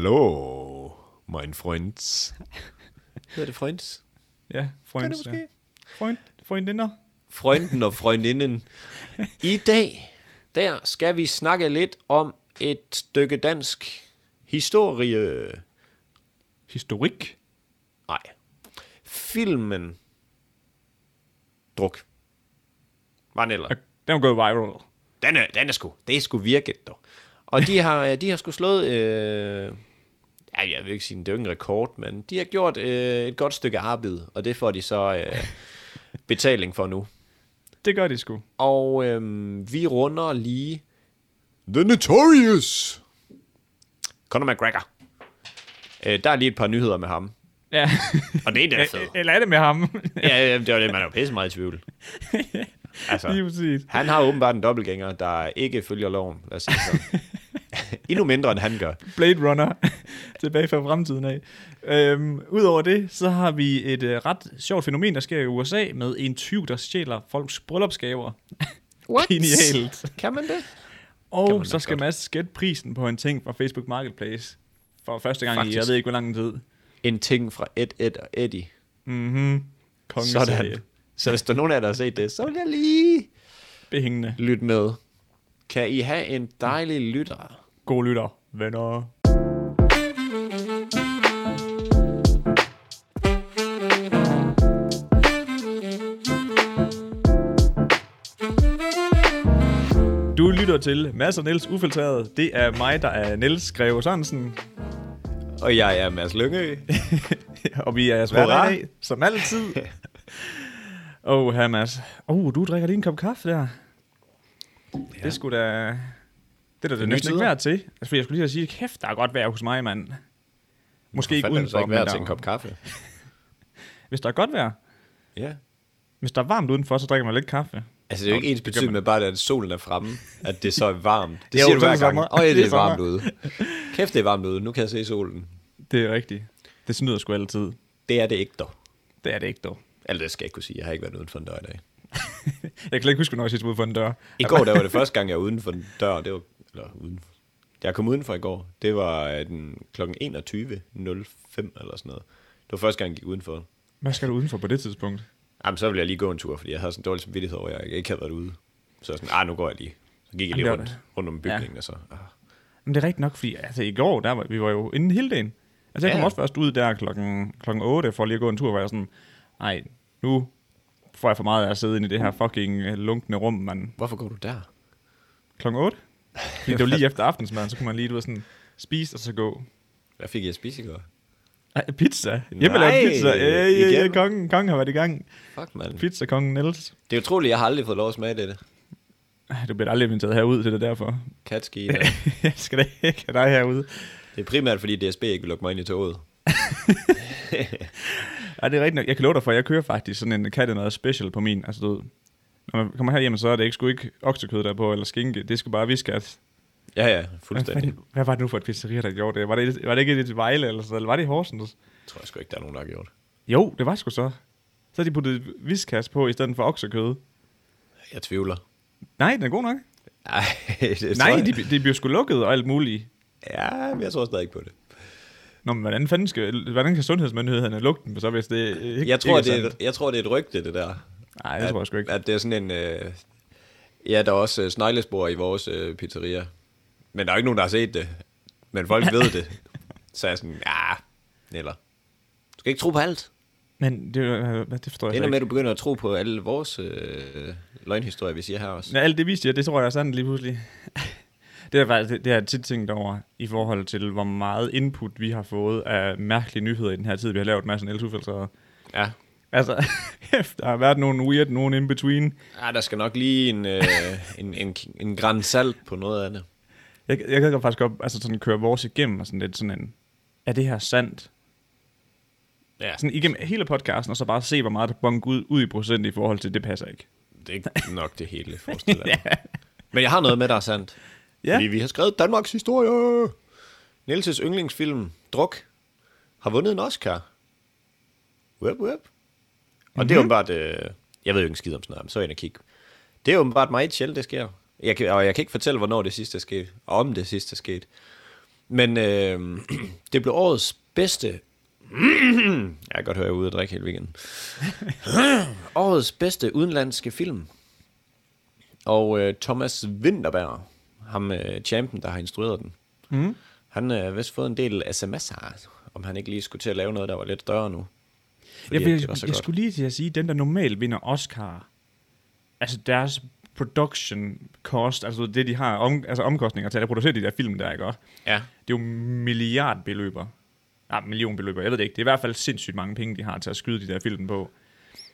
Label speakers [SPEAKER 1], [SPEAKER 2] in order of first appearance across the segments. [SPEAKER 1] Hallo, mein Freund. Hedder det Freunds?
[SPEAKER 2] Ja,
[SPEAKER 1] Gør
[SPEAKER 2] Freund.
[SPEAKER 1] det måske?
[SPEAKER 2] Freund, Freundinder.
[SPEAKER 1] Freunden og Freundinnen. I dag, der skal vi snakke lidt om et stykke dansk historie.
[SPEAKER 2] Historik.
[SPEAKER 1] Nej. Filmen. Druk. Var den eller?
[SPEAKER 2] Den er gået viral.
[SPEAKER 1] Den er, den er sgu, det er sgu virket dog. Og de har, de har sgu slået, øh, ja, jeg vil ikke sige, det er jo ikke en rekord, men de har gjort øh, et godt stykke arbejde, og det får de så øh, betaling for nu.
[SPEAKER 2] Det gør de sgu.
[SPEAKER 1] Og øh, vi runder lige... The Notorious! Conor McGregor. Øh, der er lige et par nyheder med ham.
[SPEAKER 2] Ja.
[SPEAKER 1] Og det er da fedt.
[SPEAKER 2] Eller er det med ham?
[SPEAKER 1] Ja, ja, det var det, man er jo pisse meget i tvivl.
[SPEAKER 2] Lige
[SPEAKER 1] Altså,
[SPEAKER 2] præcis.
[SPEAKER 1] han har åbenbart en dobbeltgænger, der ikke følger loven. Lad os sige det sådan. Endnu mindre, end han gør.
[SPEAKER 2] Blade Runner. Tilbage fra fremtiden af. Øhm, Udover det, så har vi et øh, ret sjovt fænomen, der sker i USA med en tyv, der stjæler folks bryllupsgaver.
[SPEAKER 1] What?
[SPEAKER 2] Genialt.
[SPEAKER 1] Kan man det? Kan man
[SPEAKER 2] Og
[SPEAKER 1] da
[SPEAKER 2] så skal
[SPEAKER 1] godt. Mads
[SPEAKER 2] Mads gætte prisen på en ting fra Facebook Marketplace. For første gang
[SPEAKER 1] Faktisk.
[SPEAKER 2] i, jeg ved ikke, hvor lang tid.
[SPEAKER 1] En ting fra Ed, Ed og Eddie.
[SPEAKER 2] Mhm. Kongeserie.
[SPEAKER 1] Sådan. Så hvis der er nogen af jer, der har set det, så vil jeg lige
[SPEAKER 2] Behængende.
[SPEAKER 1] lytte med. Kan I have en dejlig lytter?
[SPEAKER 2] God lytter, venner. Du lytter til Mads og Niels Ufiltreret. Det er mig, der er Niels Greve Sørensen.
[SPEAKER 1] Og jeg er Mads Lyngø.
[SPEAKER 2] og vi er jeres
[SPEAKER 1] Hurra.
[SPEAKER 2] hverdag, i dag, som altid. Åh, oh, her Mads. Åh, oh, du drikker lige en kop kaffe der. Ja. Det skulle da... Det er da det
[SPEAKER 1] nye
[SPEAKER 2] næsten ikke
[SPEAKER 1] tider.
[SPEAKER 2] værd til. Altså, fordi jeg skulle lige til at sige, kæft, der er godt vejr hos mig, mand. Måske ikke
[SPEAKER 1] Fanden er det så altså
[SPEAKER 2] udenfor,
[SPEAKER 1] ikke
[SPEAKER 2] men
[SPEAKER 1] værd
[SPEAKER 2] der-
[SPEAKER 1] til en kop kaffe.
[SPEAKER 2] Hvis der er godt vejr,
[SPEAKER 1] Ja.
[SPEAKER 2] hvis der er varmt udenfor, så drikker man lidt kaffe.
[SPEAKER 1] Altså, det er jo ikke ens
[SPEAKER 2] det gør
[SPEAKER 1] betydende med bare, at solen er fremme, at det så er varmt. Det
[SPEAKER 2] Jo,
[SPEAKER 1] siger du
[SPEAKER 2] så er
[SPEAKER 1] hver
[SPEAKER 2] det
[SPEAKER 1] gang.
[SPEAKER 2] sommer.
[SPEAKER 1] Åh, ja,
[SPEAKER 2] Det
[SPEAKER 1] det
[SPEAKER 2] er
[SPEAKER 1] er varmt
[SPEAKER 2] sommer.
[SPEAKER 1] ude. Kæft, det er varmt ude. Nu kan jeg se solen.
[SPEAKER 2] Det er rigtigt. Det snyder sgu altid.
[SPEAKER 1] Det er det ikke, dog.
[SPEAKER 2] Det er det ikke, dog.
[SPEAKER 1] Eller det skal jeg ikke kunne sige. Jeg har ikke været uden for en dør i dag.
[SPEAKER 2] Jeg kan slet ikke huske, når jeg sidst var ude for en dør.
[SPEAKER 1] I går, der var det første gang, jeg var uden for en dør. Det var, eller uden for. Jeg kom udenfor i går. Det var øh, den klokken 21.05 eller sådan noget. Det var første gang, jeg gik udenfor.
[SPEAKER 2] Hvad skal du udenfor på det tidspunkt?
[SPEAKER 1] Jamen, så ville jeg lige gå en tur, fordi jeg havde sådan en dårlig samvittighed over, at jeg ikke havde været ude. Så jeg sådan, ah, nu går jeg lige. Så gik jeg lige
[SPEAKER 2] Jamen, det
[SPEAKER 1] rundt,
[SPEAKER 2] var
[SPEAKER 1] rundt om bygningen, ja. og så, ah.
[SPEAKER 2] Men det er rigtigt nok, fordi altså, i går, der var, vi var jo inde hele dagen. Altså, jeg
[SPEAKER 1] Ja.
[SPEAKER 2] kom også først ud der klokken, klokken 8 for lige at gå en tur, hvor jeg sådan, nej, nu får jeg for meget af at sidde inde i det her fucking øh, lunkne rum, man.
[SPEAKER 1] Hvorfor går du der?
[SPEAKER 2] Klokken 8? Fordi det var lige efter aftensmaden, så kunne man lige, du ved, sådan, spise og så gå.
[SPEAKER 1] Hvad fik jeg at spise i går?
[SPEAKER 2] Ej, pizza. Hjemmelavet
[SPEAKER 1] Nej,
[SPEAKER 2] pizza. Ja, ja, ja,
[SPEAKER 1] igen.
[SPEAKER 2] kongen, kongen har været i gang.
[SPEAKER 1] Fuck, mand.
[SPEAKER 2] Pizza kongen Niels.
[SPEAKER 1] Det er utroligt, jeg har aldrig fået lov at smage det.
[SPEAKER 2] Ej, Du bliver aldrig inviteret herud til det er derfor.
[SPEAKER 1] Katski.
[SPEAKER 2] jeg skal da ikke have dig herude.
[SPEAKER 1] det er primært, fordi DSB ikke vil lukke mig ind i toget.
[SPEAKER 2] Ja, det er rigtigt nok. Jeg kan love dig for, at jeg kører faktisk sådan en katte noget special på min. Altså, du ved, når man kommer herhjem, så er det ikke, sgu ikke oksekød der er på, eller skinke. Det skal bare viskas.
[SPEAKER 1] Ja, ja,
[SPEAKER 2] Hvad,
[SPEAKER 1] fuldstændig.
[SPEAKER 2] fanden- hvad var det nu for et pizzeria, der gjorde det? Var det, var det ikke et Vejle, eller, sådan, eller var det i Horsens?
[SPEAKER 1] Det tror jeg sgu ikke, der er nogen, der har gjort.
[SPEAKER 2] Jo, det var sgu så. Så har de puttet viskas på, i stedet for oksekød.
[SPEAKER 1] Jeg tvivler.
[SPEAKER 2] Nej, den er god nok.
[SPEAKER 1] Ej, det tror
[SPEAKER 2] Nej,
[SPEAKER 1] jeg-
[SPEAKER 2] de, de bliver sgu lukket og alt muligt.
[SPEAKER 1] Ja, men jeg tror stadig ikke på det.
[SPEAKER 2] Nå, men hvordan, fanden skal, hvordan kan sundhedsmyndighederne lukke dem, så hvis det øh, ikke
[SPEAKER 1] Jeg tror,
[SPEAKER 2] ikke
[SPEAKER 1] det er, et- jeg tror, det er et rygte, det der.
[SPEAKER 2] Nej, det tror jeg sgu ikke.
[SPEAKER 1] At det er sådan en... Øh, ja, der er også øh, sneglespor i vores øh, pizzeria. Men der er jo ikke nogen, der har set det. Men folk ved det. Så er jeg sådan, ja, eller... Du skal ikke tro på alt.
[SPEAKER 2] Men det, øh, det forstår jeg
[SPEAKER 1] Det
[SPEAKER 2] slet
[SPEAKER 1] ender
[SPEAKER 2] ikke.
[SPEAKER 1] med, at du begynder at tro på alle vores øh, løgnhistorier, vi siger her også.
[SPEAKER 2] Ja, alt det, vi siger, det tror jeg er sandt lige pludselig. det er faktisk, det, det har jeg tit tænkt over i forhold til, hvor meget input vi har fået af mærkelige nyheder i den her tid, vi har lavet masser af elsufiltrede.
[SPEAKER 1] Ja.
[SPEAKER 2] Altså, kæft, der har været nogle weird, nogle in-between.
[SPEAKER 1] ja, der skal nok lige en, øh, en, en, en gran salt på noget af det.
[SPEAKER 2] Jeg, jeg kan faktisk godt altså sådan, køre vores igennem og sådan lidt sådan en, er det her sandt?
[SPEAKER 1] Ja,
[SPEAKER 2] Sådan igennem hele podcasten, og så bare se, hvor meget der bonker ud, ud i procent i forhold til, det passer ikke.
[SPEAKER 1] det er ikke nok det hele, forestiller jeg. ja. Men jeg har noget med, der er sandt. Ja. Fordi
[SPEAKER 2] Ja,
[SPEAKER 1] vi har skrevet Danmarks historie. Nielses yndlingsfilm, Druk, har vundet en Oscar. Web, web. Og mm-hmm. det er åbenbart... Øh, jeg ved jo ikke en skid om sådan noget, men så er jeg inde og kigge. Det er åbenbart meget sjældent, det sker. Jeg kan, og jeg kan ikke fortælle, hvornår det sidste skete, og om det sidste skete. Men øh, det blev årets bedste... jeg kan godt høre, jeg er ude og drikke hele weekenden. årets bedste udenlandske film. Og øh, Thomas Winterberg, ham øh, champion, der har instrueret den, mm. han øh, har vist fået en del sms'er, om han ikke lige skulle til at lave noget, der var lidt større nu. Fordi
[SPEAKER 2] Jeg,
[SPEAKER 1] at
[SPEAKER 2] jeg,
[SPEAKER 1] det var så
[SPEAKER 2] jeg
[SPEAKER 1] godt.
[SPEAKER 2] skulle lige til at sige, den der normalt vinder Oscar, altså deres production cost, altså det de har, om, altså omkostninger til at producere de der film der, ikke også?
[SPEAKER 1] Ja.
[SPEAKER 2] Det er jo milliardbeløber. Nej, millionbeløber, jeg ved det ikke. Det er i hvert fald sindssygt mange penge, de har til at skyde de der film på.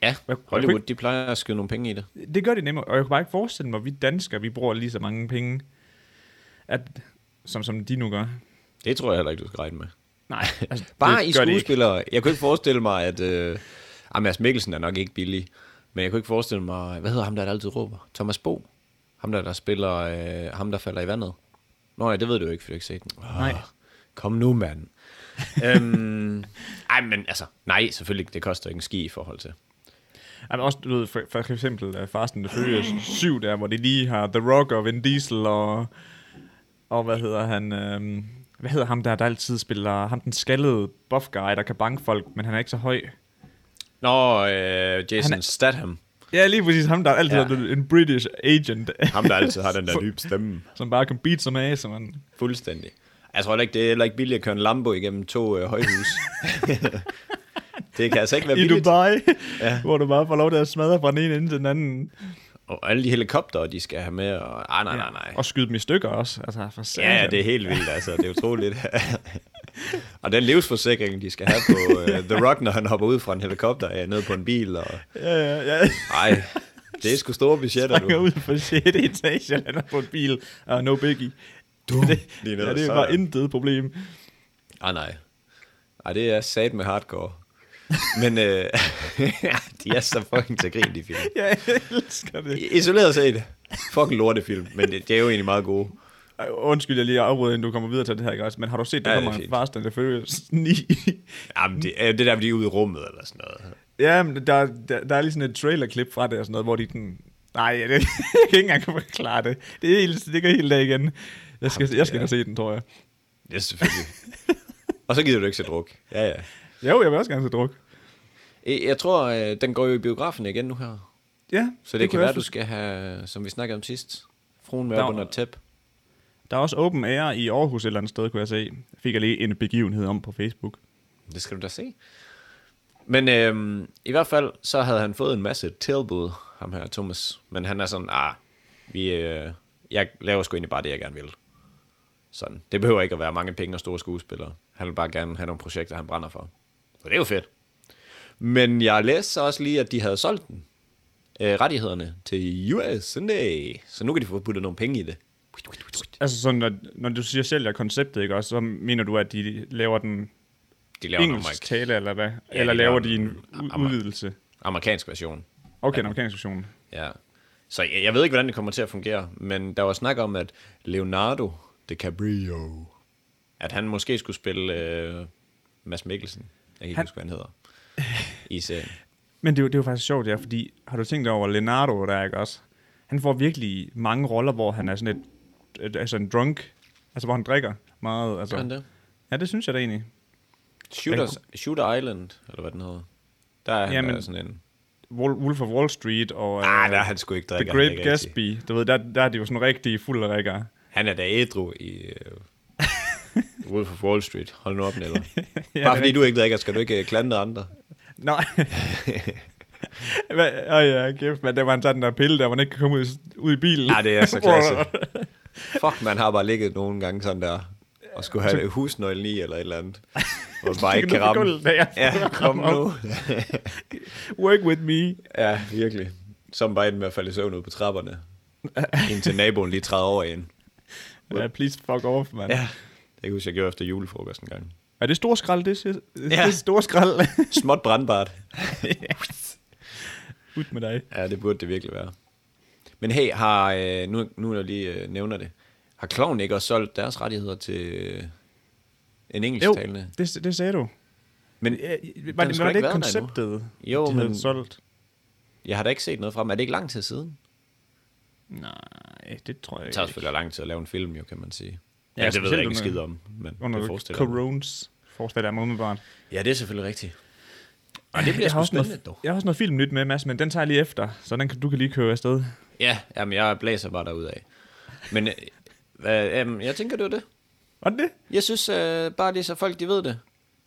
[SPEAKER 1] Ja,
[SPEAKER 2] Hvad-
[SPEAKER 1] Hollywood, de plejer at skyde nogle penge i det.
[SPEAKER 2] Det gør det nemmere, og jeg kan bare ikke forestille mig, at vi danskere, vi bruger lige så mange penge, at, som, som de nu gør.
[SPEAKER 1] Det tror jeg heller ikke, du skal regne med.
[SPEAKER 2] Nej, altså,
[SPEAKER 1] Bare
[SPEAKER 2] det
[SPEAKER 1] i
[SPEAKER 2] gør de ikke.
[SPEAKER 1] skuespillere. Jeg kunne ikke forestille mig, at... Øh, ah, Mads Mikkelsen er nok ikke billig. Men jeg kunne ikke forestille mig... Hvad hedder ham, der, der altid råber? Thomas Bo. Ham, der, der spiller... Øh, ham, der falder i vandet. Nå ja, det ved du jo ikke, for du har ikke set den. Oh,
[SPEAKER 2] Nej.
[SPEAKER 1] Kom nu, mand. øhm, ej, men altså... Nej, selvfølgelig. Det koster ikke en ski i forhold til.
[SPEAKER 2] Jamen også, du ved, for, for eksempel uh, Fast and the Furious 7 der, hvor de lige har The Rock og Vin Diesel og, og hvad hedder han, øhm, hvad hedder ham der, der altid spiller, ham den skaldede buff guy, der kan banke folk, men han er ikke så høj.
[SPEAKER 1] Nå, øh, Jason
[SPEAKER 2] Han
[SPEAKER 1] er... Statham.
[SPEAKER 2] Ja, lige præcis ham, der altid
[SPEAKER 1] Ja.
[SPEAKER 2] ja. er blevet en British agent,
[SPEAKER 1] Ham, der altid har den der dybe stemme.
[SPEAKER 2] som bare kan beat som af, som man...
[SPEAKER 1] Fuldstændig. Jeg tror heller ikke, det er heller ikke billigt at køre en Lambo igennem to øh, højhus. det kan altså ikke være
[SPEAKER 2] I
[SPEAKER 1] billigt.
[SPEAKER 2] Dubai, ja. hvor du bare får lov til at smadre fra den ene ende til den anden.
[SPEAKER 1] Og alle de helikoptere, de skal have med. Og, ah, nej, nej, nej.
[SPEAKER 2] Og skyde dem i stykker også. Altså, for
[SPEAKER 1] Ja, ja,
[SPEAKER 2] satan.
[SPEAKER 1] det er helt vildt, altså. Det er utroligt. og den livsforsikring, de skal have på uh, The Rock, når han hopper ud fra en helikopter ja, ned på en bil. Og...
[SPEAKER 2] Ja, ja, ja.
[SPEAKER 1] Ej, det er sgu store budgetter,
[SPEAKER 2] springer
[SPEAKER 1] du.
[SPEAKER 2] ud på 6. etage og lander på en bil. Og no biggie. Du, det,
[SPEAKER 1] lige
[SPEAKER 2] det,
[SPEAKER 1] ned
[SPEAKER 2] ja,
[SPEAKER 1] ad
[SPEAKER 2] det var
[SPEAKER 1] sejren.
[SPEAKER 2] intet problem.
[SPEAKER 1] Ah, nej. Ej, det er sat med hardcore. Men øh, de er så fucking til grin, de film.
[SPEAKER 2] Jeg elsker det.
[SPEAKER 1] Isoleret set, fucking lortefilm, men det, det er jo egentlig meget gode.
[SPEAKER 2] Ej, Undskyld, jeg lige afbryder, inden du kommer videre til det her, ikke også? Men har du set, der
[SPEAKER 1] Ja, det er
[SPEAKER 2] ja, kommer
[SPEAKER 1] fint.
[SPEAKER 2] en Fast and the Furious 9?
[SPEAKER 1] Jamen, det, er- det er der, de er ude i rummet eller sådan noget.
[SPEAKER 2] ja, men der, der, der, er lige sådan et trailerklip fra det og sådan noget, hvor de den... Nej, jeg, jeg kan ikke engang forklare det. Det, er helt, det går helt af igen. Jeg skal, jeg skal ja. se den, tror jeg.
[SPEAKER 1] Ja, selvfølgelig. og så gider du ikke se druk. Ja, ja.
[SPEAKER 2] Jo, jeg vil også gerne se druk.
[SPEAKER 1] Øh, Jeg tror, øh, den går jo i biografen igen nu her.
[SPEAKER 2] Ja,
[SPEAKER 1] Så det, det kan
[SPEAKER 2] kunne
[SPEAKER 1] være,
[SPEAKER 2] jeg
[SPEAKER 1] du
[SPEAKER 2] også-
[SPEAKER 1] skal have, som vi snakkede om sidst, fruen med
[SPEAKER 2] Der
[SPEAKER 1] op
[SPEAKER 2] var-
[SPEAKER 1] under et tæp.
[SPEAKER 2] Der er også Open Air i Aarhus et eller andet sted, kunne jeg se. Fik jeg lige en begivenhed om på Facebook.
[SPEAKER 1] Det skal du da se. Men øhm, i hvert fald, så havde han fået en masse tilbud, ham her Thomas. Men han er sådan, ah, vi, øh, jeg laver sgu egentlig bare det, jeg gerne vil. Sådan. Det behøver ikke at være mange penge og store skuespillere. Han vil bare gerne have nogle projekter, han brænder for. Så det er jo fedt. Men jeg læste så også lige, at de havde solgt den. Øh, rettighederne til US Sunday. Så nu kan de få puttet nogle penge i det.
[SPEAKER 2] Altså sådan, når, når du siger sælger konceptet, ikke også, så mener du, at de laver den
[SPEAKER 1] De
[SPEAKER 2] ja,
[SPEAKER 1] laver en
[SPEAKER 2] engelsk
[SPEAKER 1] amerik-
[SPEAKER 2] tale, eller hvad?
[SPEAKER 1] Ja,
[SPEAKER 2] Ja, eller
[SPEAKER 1] de
[SPEAKER 2] laver
[SPEAKER 1] laver
[SPEAKER 2] de en
[SPEAKER 1] den
[SPEAKER 2] u-
[SPEAKER 1] amer-
[SPEAKER 2] udvidelse?
[SPEAKER 1] amerikansk version.
[SPEAKER 2] Okay, den amerikanske version.
[SPEAKER 1] Ja. Så jeg, jeg ved ikke, hvordan det kommer til at fungere, men der var snak om, at Leonardo DiCaprio, at han måske skulle spille øh, Mads Mikkelsen. Jeg kan ikke
[SPEAKER 2] Han-
[SPEAKER 1] huske, hvad han hedder. I serien.
[SPEAKER 2] Men det er, jo, det er jo faktisk sjovt, ja, fordi har du tænkt over Leonardo der, ikke også? Han får virkelig mange roller, hvor han er sådan et, et altså en drunk, altså hvor han drikker meget. Altså.
[SPEAKER 1] Gør han det?
[SPEAKER 2] Ja, det synes jeg da egentlig.
[SPEAKER 1] Shooters, Shooter Island, eller hvad den hedder. Der er han
[SPEAKER 2] Jamen-
[SPEAKER 1] der er sådan en...
[SPEAKER 2] Wol- Wolf of Wall Street og øh,
[SPEAKER 1] Ah, der er han sgu ikke
[SPEAKER 2] The
[SPEAKER 1] drikker.
[SPEAKER 2] Great Gatsby, du ved, der, der er de jo sådan rigtig fuld af drikker.
[SPEAKER 1] Han er da ædru i... Øh, Wolf of Wall Street. Hold nu op, Neller.
[SPEAKER 2] Ja,
[SPEAKER 1] Bare
[SPEAKER 2] det-
[SPEAKER 1] fordi du ikke drikker, skal du ikke øh, klandre andre.
[SPEAKER 2] Nej. Hvad? Åh oh ja, kæft, men der var en sådan der pille, der man ikke kan komme ud, i- ud i bilen.
[SPEAKER 1] Ja, det er så
[SPEAKER 2] Hvor-
[SPEAKER 1] klasse. Fuck, man har bare ligget nogle gange sådan der, og skulle have det husnøglen i, eller et eller andet, hvor man bare ikke kan
[SPEAKER 2] Stikker ned på
[SPEAKER 1] ramme.
[SPEAKER 2] gulvet, da jeg
[SPEAKER 1] Ja, kom
[SPEAKER 2] rammer
[SPEAKER 1] nu.
[SPEAKER 2] Work with me.
[SPEAKER 1] Ja, virkelig. Som bare endte med at falde i søvn ud på trapperne, indtil naboen lige træder over en.
[SPEAKER 2] Ja, please fuck off, mand. Ja.
[SPEAKER 1] Ja, det kan jeg huske, jeg gjorde efter julefrokost en gang.
[SPEAKER 2] Er det stor skrald, det? Ja. Det
[SPEAKER 1] Ja.
[SPEAKER 2] er stor skrald.
[SPEAKER 1] Småt brandbart.
[SPEAKER 2] ud med dig.
[SPEAKER 1] Ja, det burde det virkelig være. Men hey, har, øh, nu, nu når jeg lige øh, nævner det, har Kloven ikke også solgt deres rettigheder til øh, en engelsktalende?
[SPEAKER 2] det, det sagde du.
[SPEAKER 1] Men
[SPEAKER 2] Ja,
[SPEAKER 1] den
[SPEAKER 2] var
[SPEAKER 1] har
[SPEAKER 2] det,
[SPEAKER 1] sgu
[SPEAKER 2] var
[SPEAKER 1] ikke
[SPEAKER 2] det ikke
[SPEAKER 1] været der endnu.
[SPEAKER 2] konceptet,
[SPEAKER 1] Jo,
[SPEAKER 2] de
[SPEAKER 1] men-
[SPEAKER 2] havde solgt?
[SPEAKER 1] Jeg har da ikke set noget fra dem. Er det ikke lang tid siden?
[SPEAKER 2] Nej, det tror jeg
[SPEAKER 1] Det tager
[SPEAKER 2] ikke.
[SPEAKER 1] selvfølgelig lang tid at lave en film, jo, kan man sige. Ja, ja det ved
[SPEAKER 2] specielt
[SPEAKER 1] jeg ikke en
[SPEAKER 2] under-
[SPEAKER 1] skid om, men det
[SPEAKER 2] Under
[SPEAKER 1] forestiller jeg mig.
[SPEAKER 2] coronas forestiller jeg mig umiddelbart.
[SPEAKER 1] Ja, det er selvfølgelig rigtigt. Og det bliver
[SPEAKER 2] jeg, har
[SPEAKER 1] sgu
[SPEAKER 2] også
[SPEAKER 1] spændende,
[SPEAKER 2] noget,
[SPEAKER 1] dog.
[SPEAKER 2] jeg har også noget film nyt med, Mads, men den tager jeg lige efter, så den kan, du kan lige køre afsted.
[SPEAKER 1] Ja, jamen, jeg blæser bare derud af. Men øh, hvad, jamen, jeg tænker, det var det.
[SPEAKER 2] Var det det?
[SPEAKER 1] Jeg synes øh, bare lige, så folk de ved det.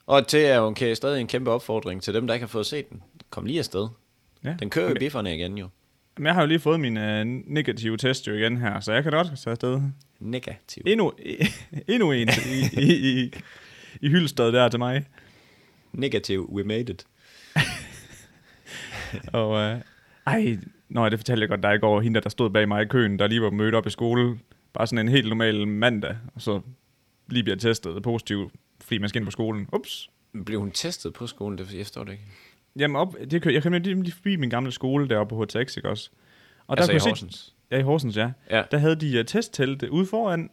[SPEAKER 1] Og til er jo okay, stadig en kæmpe opfordring til dem, der ikke har fået set den. Kom lige afsted.
[SPEAKER 2] Ja.
[SPEAKER 1] Den kører jo i bifferne igen jo.
[SPEAKER 2] Men jeg har jo lige fået min øh, negative test jo igen her, så jeg kan godt tage afsted.
[SPEAKER 1] Negativ.
[SPEAKER 2] Endnu, endnu en i, i, i, i hyldstedet der til mig.
[SPEAKER 1] Negativ, we made it.
[SPEAKER 2] Og øh, ej, nej, det fortalte jeg godt dig i går. Hende, der, der stod bag mig i køen, der lige var mødt op i skole. Bare sådan en helt normal mandag, og så lige bliver testet positiv, fordi man skal ind på skolen. Ups.
[SPEAKER 1] Blev hun testet på skolen? Det jeg forstår det ikke.
[SPEAKER 2] Jamen op, det kører, jeg kom nemlig lige forbi min gamle skole deroppe på HTX, ikke også? Og
[SPEAKER 1] Altså i
[SPEAKER 2] kunne jeg se-
[SPEAKER 1] Horsens?
[SPEAKER 2] Ja, i Horsens, ja.
[SPEAKER 1] Ja.
[SPEAKER 2] Der havde de uh, testtelt ude foran,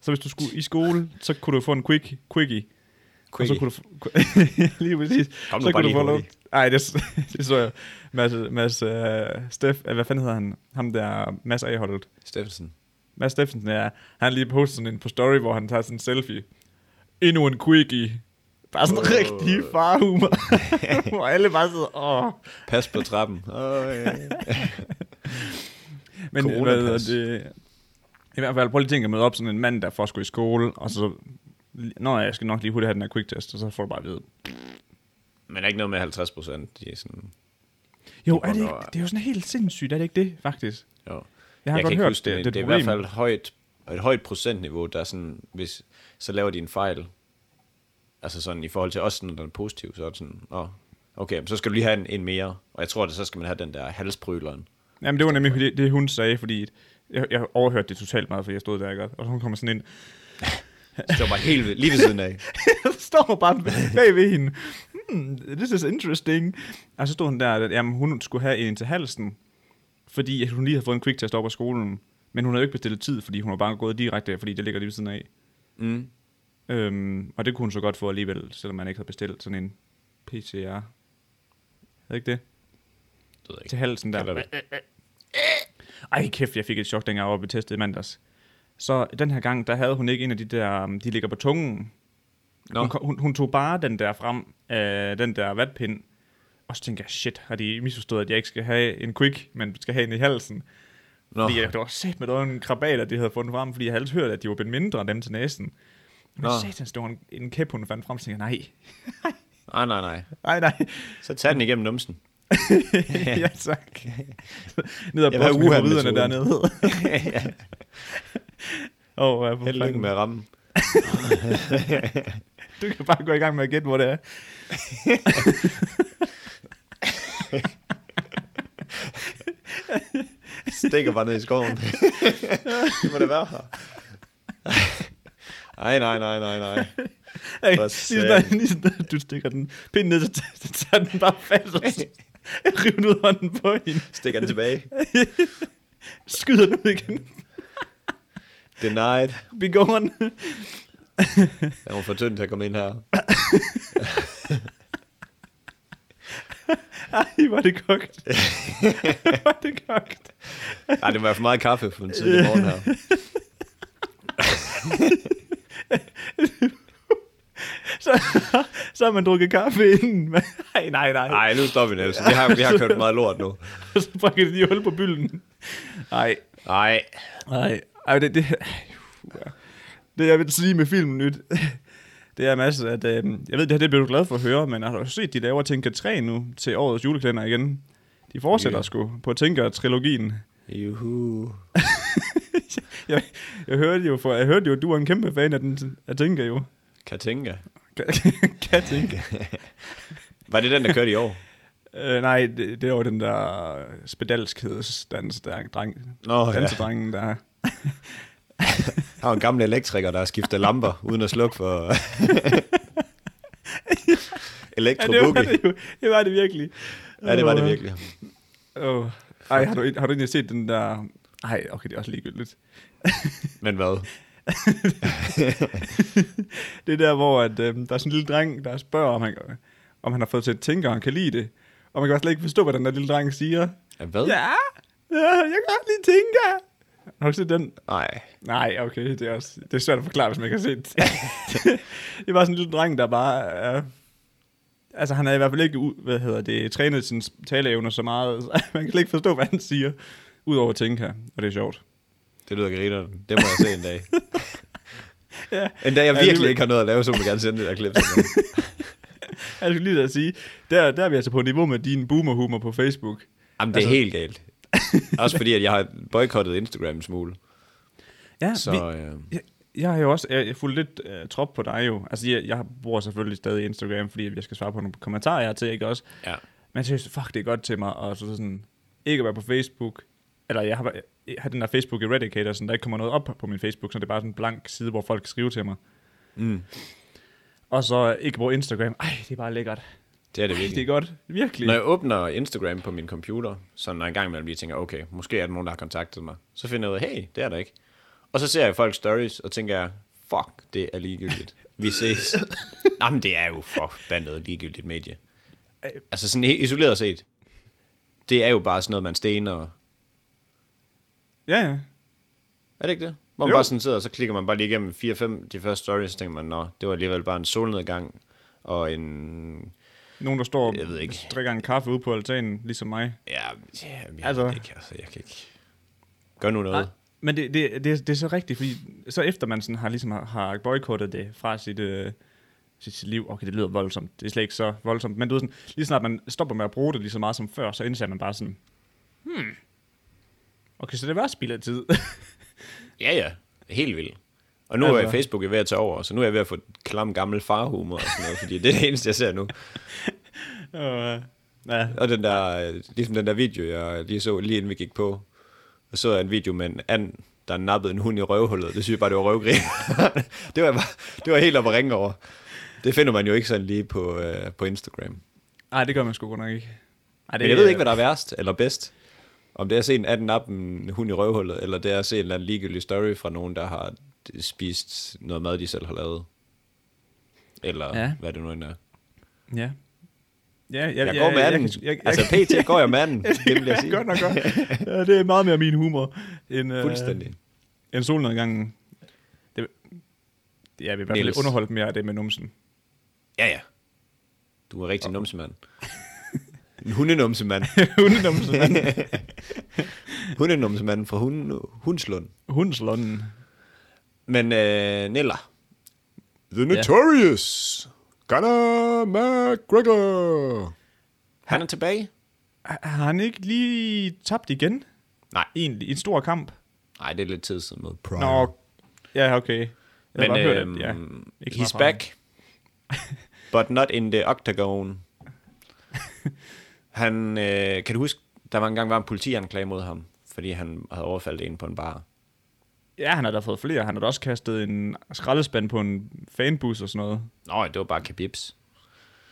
[SPEAKER 2] så hvis du skulle i skole, så kunne du få en quick, quickie. Og så
[SPEAKER 1] Quickie.
[SPEAKER 2] kunne du få, lige præcis.
[SPEAKER 1] Kom nu bare
[SPEAKER 2] så kunne
[SPEAKER 1] lige
[SPEAKER 2] du få lov.
[SPEAKER 1] hurtigt.
[SPEAKER 2] Ej, det, s- det så jeg. Mads, Mads uh, Steff, uh, hvad fanden hedder han? Ham der, Mads Aholdt.
[SPEAKER 1] Steffensen.
[SPEAKER 2] Mads Steffensen, ja. Han lige postet sådan en på story, hvor han tager sådan en selfie. Endnu en quickie. Bare sådan
[SPEAKER 1] Åh.
[SPEAKER 2] oh. rigtig farhumor. hvor alle bare sidder, åh.
[SPEAKER 1] Pas på trappen. Åh, ja.
[SPEAKER 2] Men øh,
[SPEAKER 1] Coronapas.
[SPEAKER 2] hvad hedder det? I hvert fald, prøv lige at tænke at møde op sådan en mand, der får skulle i skole, og så... Nå, jeg skal nok lige hurtigt have den her quicktest, og så får du bare at vide.
[SPEAKER 1] Men er ikke noget med 50 procent. De er sådan,
[SPEAKER 2] Jo,
[SPEAKER 1] Det
[SPEAKER 2] er det, ikke,
[SPEAKER 1] bunder-
[SPEAKER 2] det er jo sådan helt sindssygt, er det ikke det, faktisk?
[SPEAKER 1] jo.
[SPEAKER 2] Jeg har godt hørt,
[SPEAKER 1] huske
[SPEAKER 2] det-
[SPEAKER 1] men
[SPEAKER 2] det er et
[SPEAKER 1] det er i hvert
[SPEAKER 2] problem.
[SPEAKER 1] fald højt, et højt procentniveau, der er sådan, hvis, så laver de en fejl. Altså sådan i forhold til os, når den er positiv, så er det sådan, åh, okay, men så skal du lige have en, en mere. Og jeg tror, at så skal man have den der halsprøleren.
[SPEAKER 2] Jamen, det var nemlig det, det hun sagde, fordi jeg, jeg overhørte det totalt meget, fordi jeg stod der, ikke? Og hun kommer sådan ind,
[SPEAKER 1] Så var helt ved- lige ved siden af.
[SPEAKER 2] jeg står bare bag ved hende. Hmm, this is interesting. Og så stod hun der, at jamen, hun skulle have en til halsen, fordi at hun lige havde fået en quicktest op af skolen. Men hun havde jo ikke bestilt tid, fordi hun var bare gået direkte, fordi det ligger lige ved siden af.
[SPEAKER 1] Mm.
[SPEAKER 2] Øhm, og det kunne hun så godt få alligevel, selvom man ikke havde bestilt sådan en PCR. Havde ikke det?
[SPEAKER 1] Det ved jeg ikke.
[SPEAKER 2] Til halsen der.
[SPEAKER 1] Kalder det.
[SPEAKER 2] Ej, kæft, jeg fik et chok, dengang jeg var oppe i testet i mandags. Så den her gang, der havde hun ikke en af de der, um, de ligger på tungen.
[SPEAKER 1] Nå.
[SPEAKER 2] Hun, hun, hun, tog bare den der frem, øh, den der vatpind. Og så tænkte jeg, shit, har de misforstået, at jeg ikke skal have en quick, men skal have en i halsen.
[SPEAKER 1] Nå,
[SPEAKER 2] Fordi jeg, det var sæt med, der var en krabat, at de havde fundet frem, fordi jeg havde altid hørt, at de var blevet mindre end dem til næsen. Men
[SPEAKER 1] Nå.
[SPEAKER 2] satans, det var en, en kæp, hun fandt frem, så tænkte jeg, nej,
[SPEAKER 1] nej, nej, nej.
[SPEAKER 2] nej, nej.
[SPEAKER 1] Så tag den igennem numsen.
[SPEAKER 2] ja, tak. Ned og
[SPEAKER 1] Jeg vil have
[SPEAKER 2] boks med
[SPEAKER 1] Wuhan-metoden.
[SPEAKER 2] viderne dernede. Og uh,
[SPEAKER 1] Held lykke med at ramme.
[SPEAKER 2] Du kan bare gå i gang med at gætte, hvor det er.
[SPEAKER 1] Stikker bare ned i skoven. det må det være her. Ej, nej, nej, nej, nej.
[SPEAKER 2] Hey,
[SPEAKER 1] For
[SPEAKER 2] lige snart, lige snart, du stikker den pind ned, så tager- så tager den bare fast og så river den ud af hånden på hende.
[SPEAKER 1] Stikker den tilbage.
[SPEAKER 2] Skyder den ud igen.
[SPEAKER 1] Denied.
[SPEAKER 2] Be gone.
[SPEAKER 1] Jeg var for tynd til at komme ind her.
[SPEAKER 2] Ej, hvor er det kogt. hvor er det kogt.
[SPEAKER 1] Nej, det var for meget kaffe for en tidlig morgen her.
[SPEAKER 2] Så, så har man drukket kaffe inden. men- Ej, nej, nej.
[SPEAKER 1] Nej, nu stopper vi, Niels. Vi har, vi har kørt meget lort nu.
[SPEAKER 2] Og så brækker de lige hul på bylden. Nej,
[SPEAKER 1] Nej.
[SPEAKER 2] Nej, ej, det, det, det jeg vil sige med filmen nyt, det er masser at, øh, jeg ved, det her det bliver du glad for at høre, men har du set, de laver Tinker 3 nu til årets juleklænder igen? De fortsætter
[SPEAKER 1] Ja.
[SPEAKER 2] yeah. sgu på Tinker-trilogien.
[SPEAKER 1] Juhu.
[SPEAKER 2] Jeg, jeg, hørte jo, for, jeg hørte jo, at du er en kæmpe fan af, den, af Tinker jo.
[SPEAKER 1] Katinka.
[SPEAKER 2] Kan, kan Tinker.
[SPEAKER 1] Var det den, der kørte i år?
[SPEAKER 2] Øh, nej, det, det, var den der spedalskhedsdans, der er dreng,
[SPEAKER 1] Nå, ja.
[SPEAKER 2] dansedrengen, der
[SPEAKER 1] Har en gammel elektriker, der har skiftet lamper, uden at slukke for...
[SPEAKER 2] Ja, det var
[SPEAKER 1] Elektroboogie.
[SPEAKER 2] det jo. Det var det virkelig.
[SPEAKER 1] Ja, det var det
[SPEAKER 2] Åh.
[SPEAKER 1] virkelig.
[SPEAKER 2] Oh. Ej, har du, har du egentlig set den der... Ej, okay, det er også ligegyldigt.
[SPEAKER 1] Men hvad?
[SPEAKER 2] Det er der, hvor at, øhm, der er sådan en lille dreng, der spørger, om han, om han har fået til at tænke, og han kan lide det. Og man kan også slet ikke forstå, hvad den der lille dreng siger.
[SPEAKER 1] Ja, Hvad?
[SPEAKER 2] Ja, ja jeg kan godt lide tænke. Har du ikke set den?
[SPEAKER 1] Nej.
[SPEAKER 2] Nej, okay, det er, også, det er svært at forklare, hvis man ikke har set det. det er bare sådan en lille dreng, der bare er... Altså, han er i hvert fald ikke, u- hvad hedder det, trænet sine taleevner så meget, så man kan slet ikke forstå, hvad han siger, udover at tænke her, og det er sjovt.
[SPEAKER 1] Det lyder grineren. Det må jeg se en dag.
[SPEAKER 2] Ja.
[SPEAKER 1] En dag, jeg
[SPEAKER 2] Ja,
[SPEAKER 1] virkelig
[SPEAKER 2] det-
[SPEAKER 1] ikke har noget at lave, så må jeg gerne sende det der klip. til mig.
[SPEAKER 2] Jeg skulle lige da sige, der, der er vi altså på niveau med din boomerhumor på Facebook.
[SPEAKER 1] Jamen, det er
[SPEAKER 2] Altså-
[SPEAKER 1] helt galt. Også fordi, at jeg har boykottet Instagram en smule.
[SPEAKER 2] Ja,
[SPEAKER 1] Så, øh,
[SPEAKER 2] Jeg, jeg har jo også, jeg, jeg fulgte lidt øh, trop på dig jo. Altså, jeg, jeg bruger selvfølgelig stadig Instagram, fordi jeg skal svare på nogle kommentarer, jeg har til, ikke også?
[SPEAKER 1] ja.
[SPEAKER 2] Men jeg synes, fuck, det er godt til mig, og så sådan, ikke at være på Facebook, eller jeg har, jeg har den der Facebook Eradicator, sådan, der ikke kommer noget op på min Facebook, så det er bare sådan en blank side, hvor folk skriver til mig.
[SPEAKER 1] Mm.
[SPEAKER 2] Og så ikke bruge Instagram. Ej, det er bare lækkert.
[SPEAKER 1] Det er det
[SPEAKER 2] Ej, det er
[SPEAKER 1] virkelig.
[SPEAKER 2] godt. Virkelig.
[SPEAKER 1] Når jeg åbner Instagram på min computer, så når jeg engang imellem lige tænker, okay, måske er der nogen, der har kontaktet mig, så finder jeg ud af, hey, det er der ikke. Og så ser jeg folks stories, og tænker jeg, fuck, det er ligegyldigt. Vi ses. Jamen, det er jo forbandet ligegyldigt medie. Altså sådan helt isoleret set. Det er jo bare sådan noget, man stener.
[SPEAKER 2] Ja, ja.
[SPEAKER 1] Er det ikke det? Hvor man
[SPEAKER 2] Jo.
[SPEAKER 1] jo. bare sådan sidder, og så klikker man bare lige igennem 4-5 de første stories, så tænker man, nå, det var alligevel bare en solnedgang, og en...
[SPEAKER 2] Nogen, der står
[SPEAKER 1] Jeg ved ikke.
[SPEAKER 2] og drikker en kaffe ude på altanen, ligesom mig.
[SPEAKER 1] Ja, ja jeg,
[SPEAKER 2] Altså-
[SPEAKER 1] altså... ikke, altså, jeg kan ikke... Gør nu noget.
[SPEAKER 2] Nej, men det, det, det, er- det er så rigtigt, fordi så efter man sådan har, ligesom har, har boykottet det fra sit, øh, sit, sit liv, okay, det lyder voldsomt, det er slet ikke så voldsomt, men du ved sådan, lige snart man stopper med at bruge det lige så meget som før, så indser man bare sådan, hmm, okay, så det var spild af tid.
[SPEAKER 1] Ja, ja. Helt vildt. Og nu
[SPEAKER 2] Altså.
[SPEAKER 1] er Facebook er ved at tage over, så nu er jeg ved at få klam gammel farhumor og sådan noget, fordi det er det eneste, jeg ser nu.
[SPEAKER 2] uh, ja.
[SPEAKER 1] Og den der, øh, ligesom den der video, jeg lige så, lige inden vi gik på, og så jeg en video med en and, der nappede en hund i røvhullet. Det synes jeg bare, det var røvgrin. det, var, jeg bare- det var helt op at ringe over. Det finder man jo ikke sådan lige på, øh, på Instagram.
[SPEAKER 2] Ej, det gør man sgu godt nok ikke. Ej,
[SPEAKER 1] Men jeg ved ikke, hvad der er værst eller bedst. Om det er at se en anden nap en hund i røvhullet, eller det er at se en eller anden ligegyldig story fra nogen, der har spist noget mad, de selv har lavet. Eller
[SPEAKER 2] Ja.
[SPEAKER 1] ja. hvad det nu end er.
[SPEAKER 2] Ja. Ja, ja,
[SPEAKER 1] Jeg
[SPEAKER 2] ja,
[SPEAKER 1] går med
[SPEAKER 2] ja,
[SPEAKER 1] anden.
[SPEAKER 2] kan- jeg- jeg-
[SPEAKER 1] Altså pt. går jeg med anden. Det vil jeg sige.
[SPEAKER 2] Godt nok godt. Ja, det er meget mere min humor. End, øh,
[SPEAKER 1] Fuldstændig.
[SPEAKER 2] En solnedgangen. Det, det er vi i hvert fald
[SPEAKER 1] Niels.
[SPEAKER 2] underholdt mere af det med numsen.
[SPEAKER 1] Ja, ja. Du er rigtig numsemand. En hundenumsemand.
[SPEAKER 2] Hundenumsen.
[SPEAKER 1] Hundenumsemanden fra hun, Hundslund.
[SPEAKER 2] Hundslunden.
[SPEAKER 1] Men øh, Neller. The
[SPEAKER 3] Notorious Conor McGregor.
[SPEAKER 1] Han er tilbage?
[SPEAKER 2] Har har han ikke lige tabt igen?
[SPEAKER 1] Nej.
[SPEAKER 2] Egentlig, i en stor kamp.
[SPEAKER 1] Nej, det er lidt tid siden med.
[SPEAKER 3] Prime.
[SPEAKER 2] Nå, ja, okay. Jeg har
[SPEAKER 1] Men
[SPEAKER 2] bare hørt, at-
[SPEAKER 1] øhm,
[SPEAKER 2] ikke så meget
[SPEAKER 1] he's
[SPEAKER 2] fra
[SPEAKER 1] back, but not in the octagon. Han, øh, kan du huske, der var engang var en politianklage mod ham, fordi han havde overfaldet en på en bar.
[SPEAKER 2] ham. Ja, han har da fået flere. Han har da også kastet en skraldespand på en fanbus og sådan noget.
[SPEAKER 1] Nå, det var bare kebibs.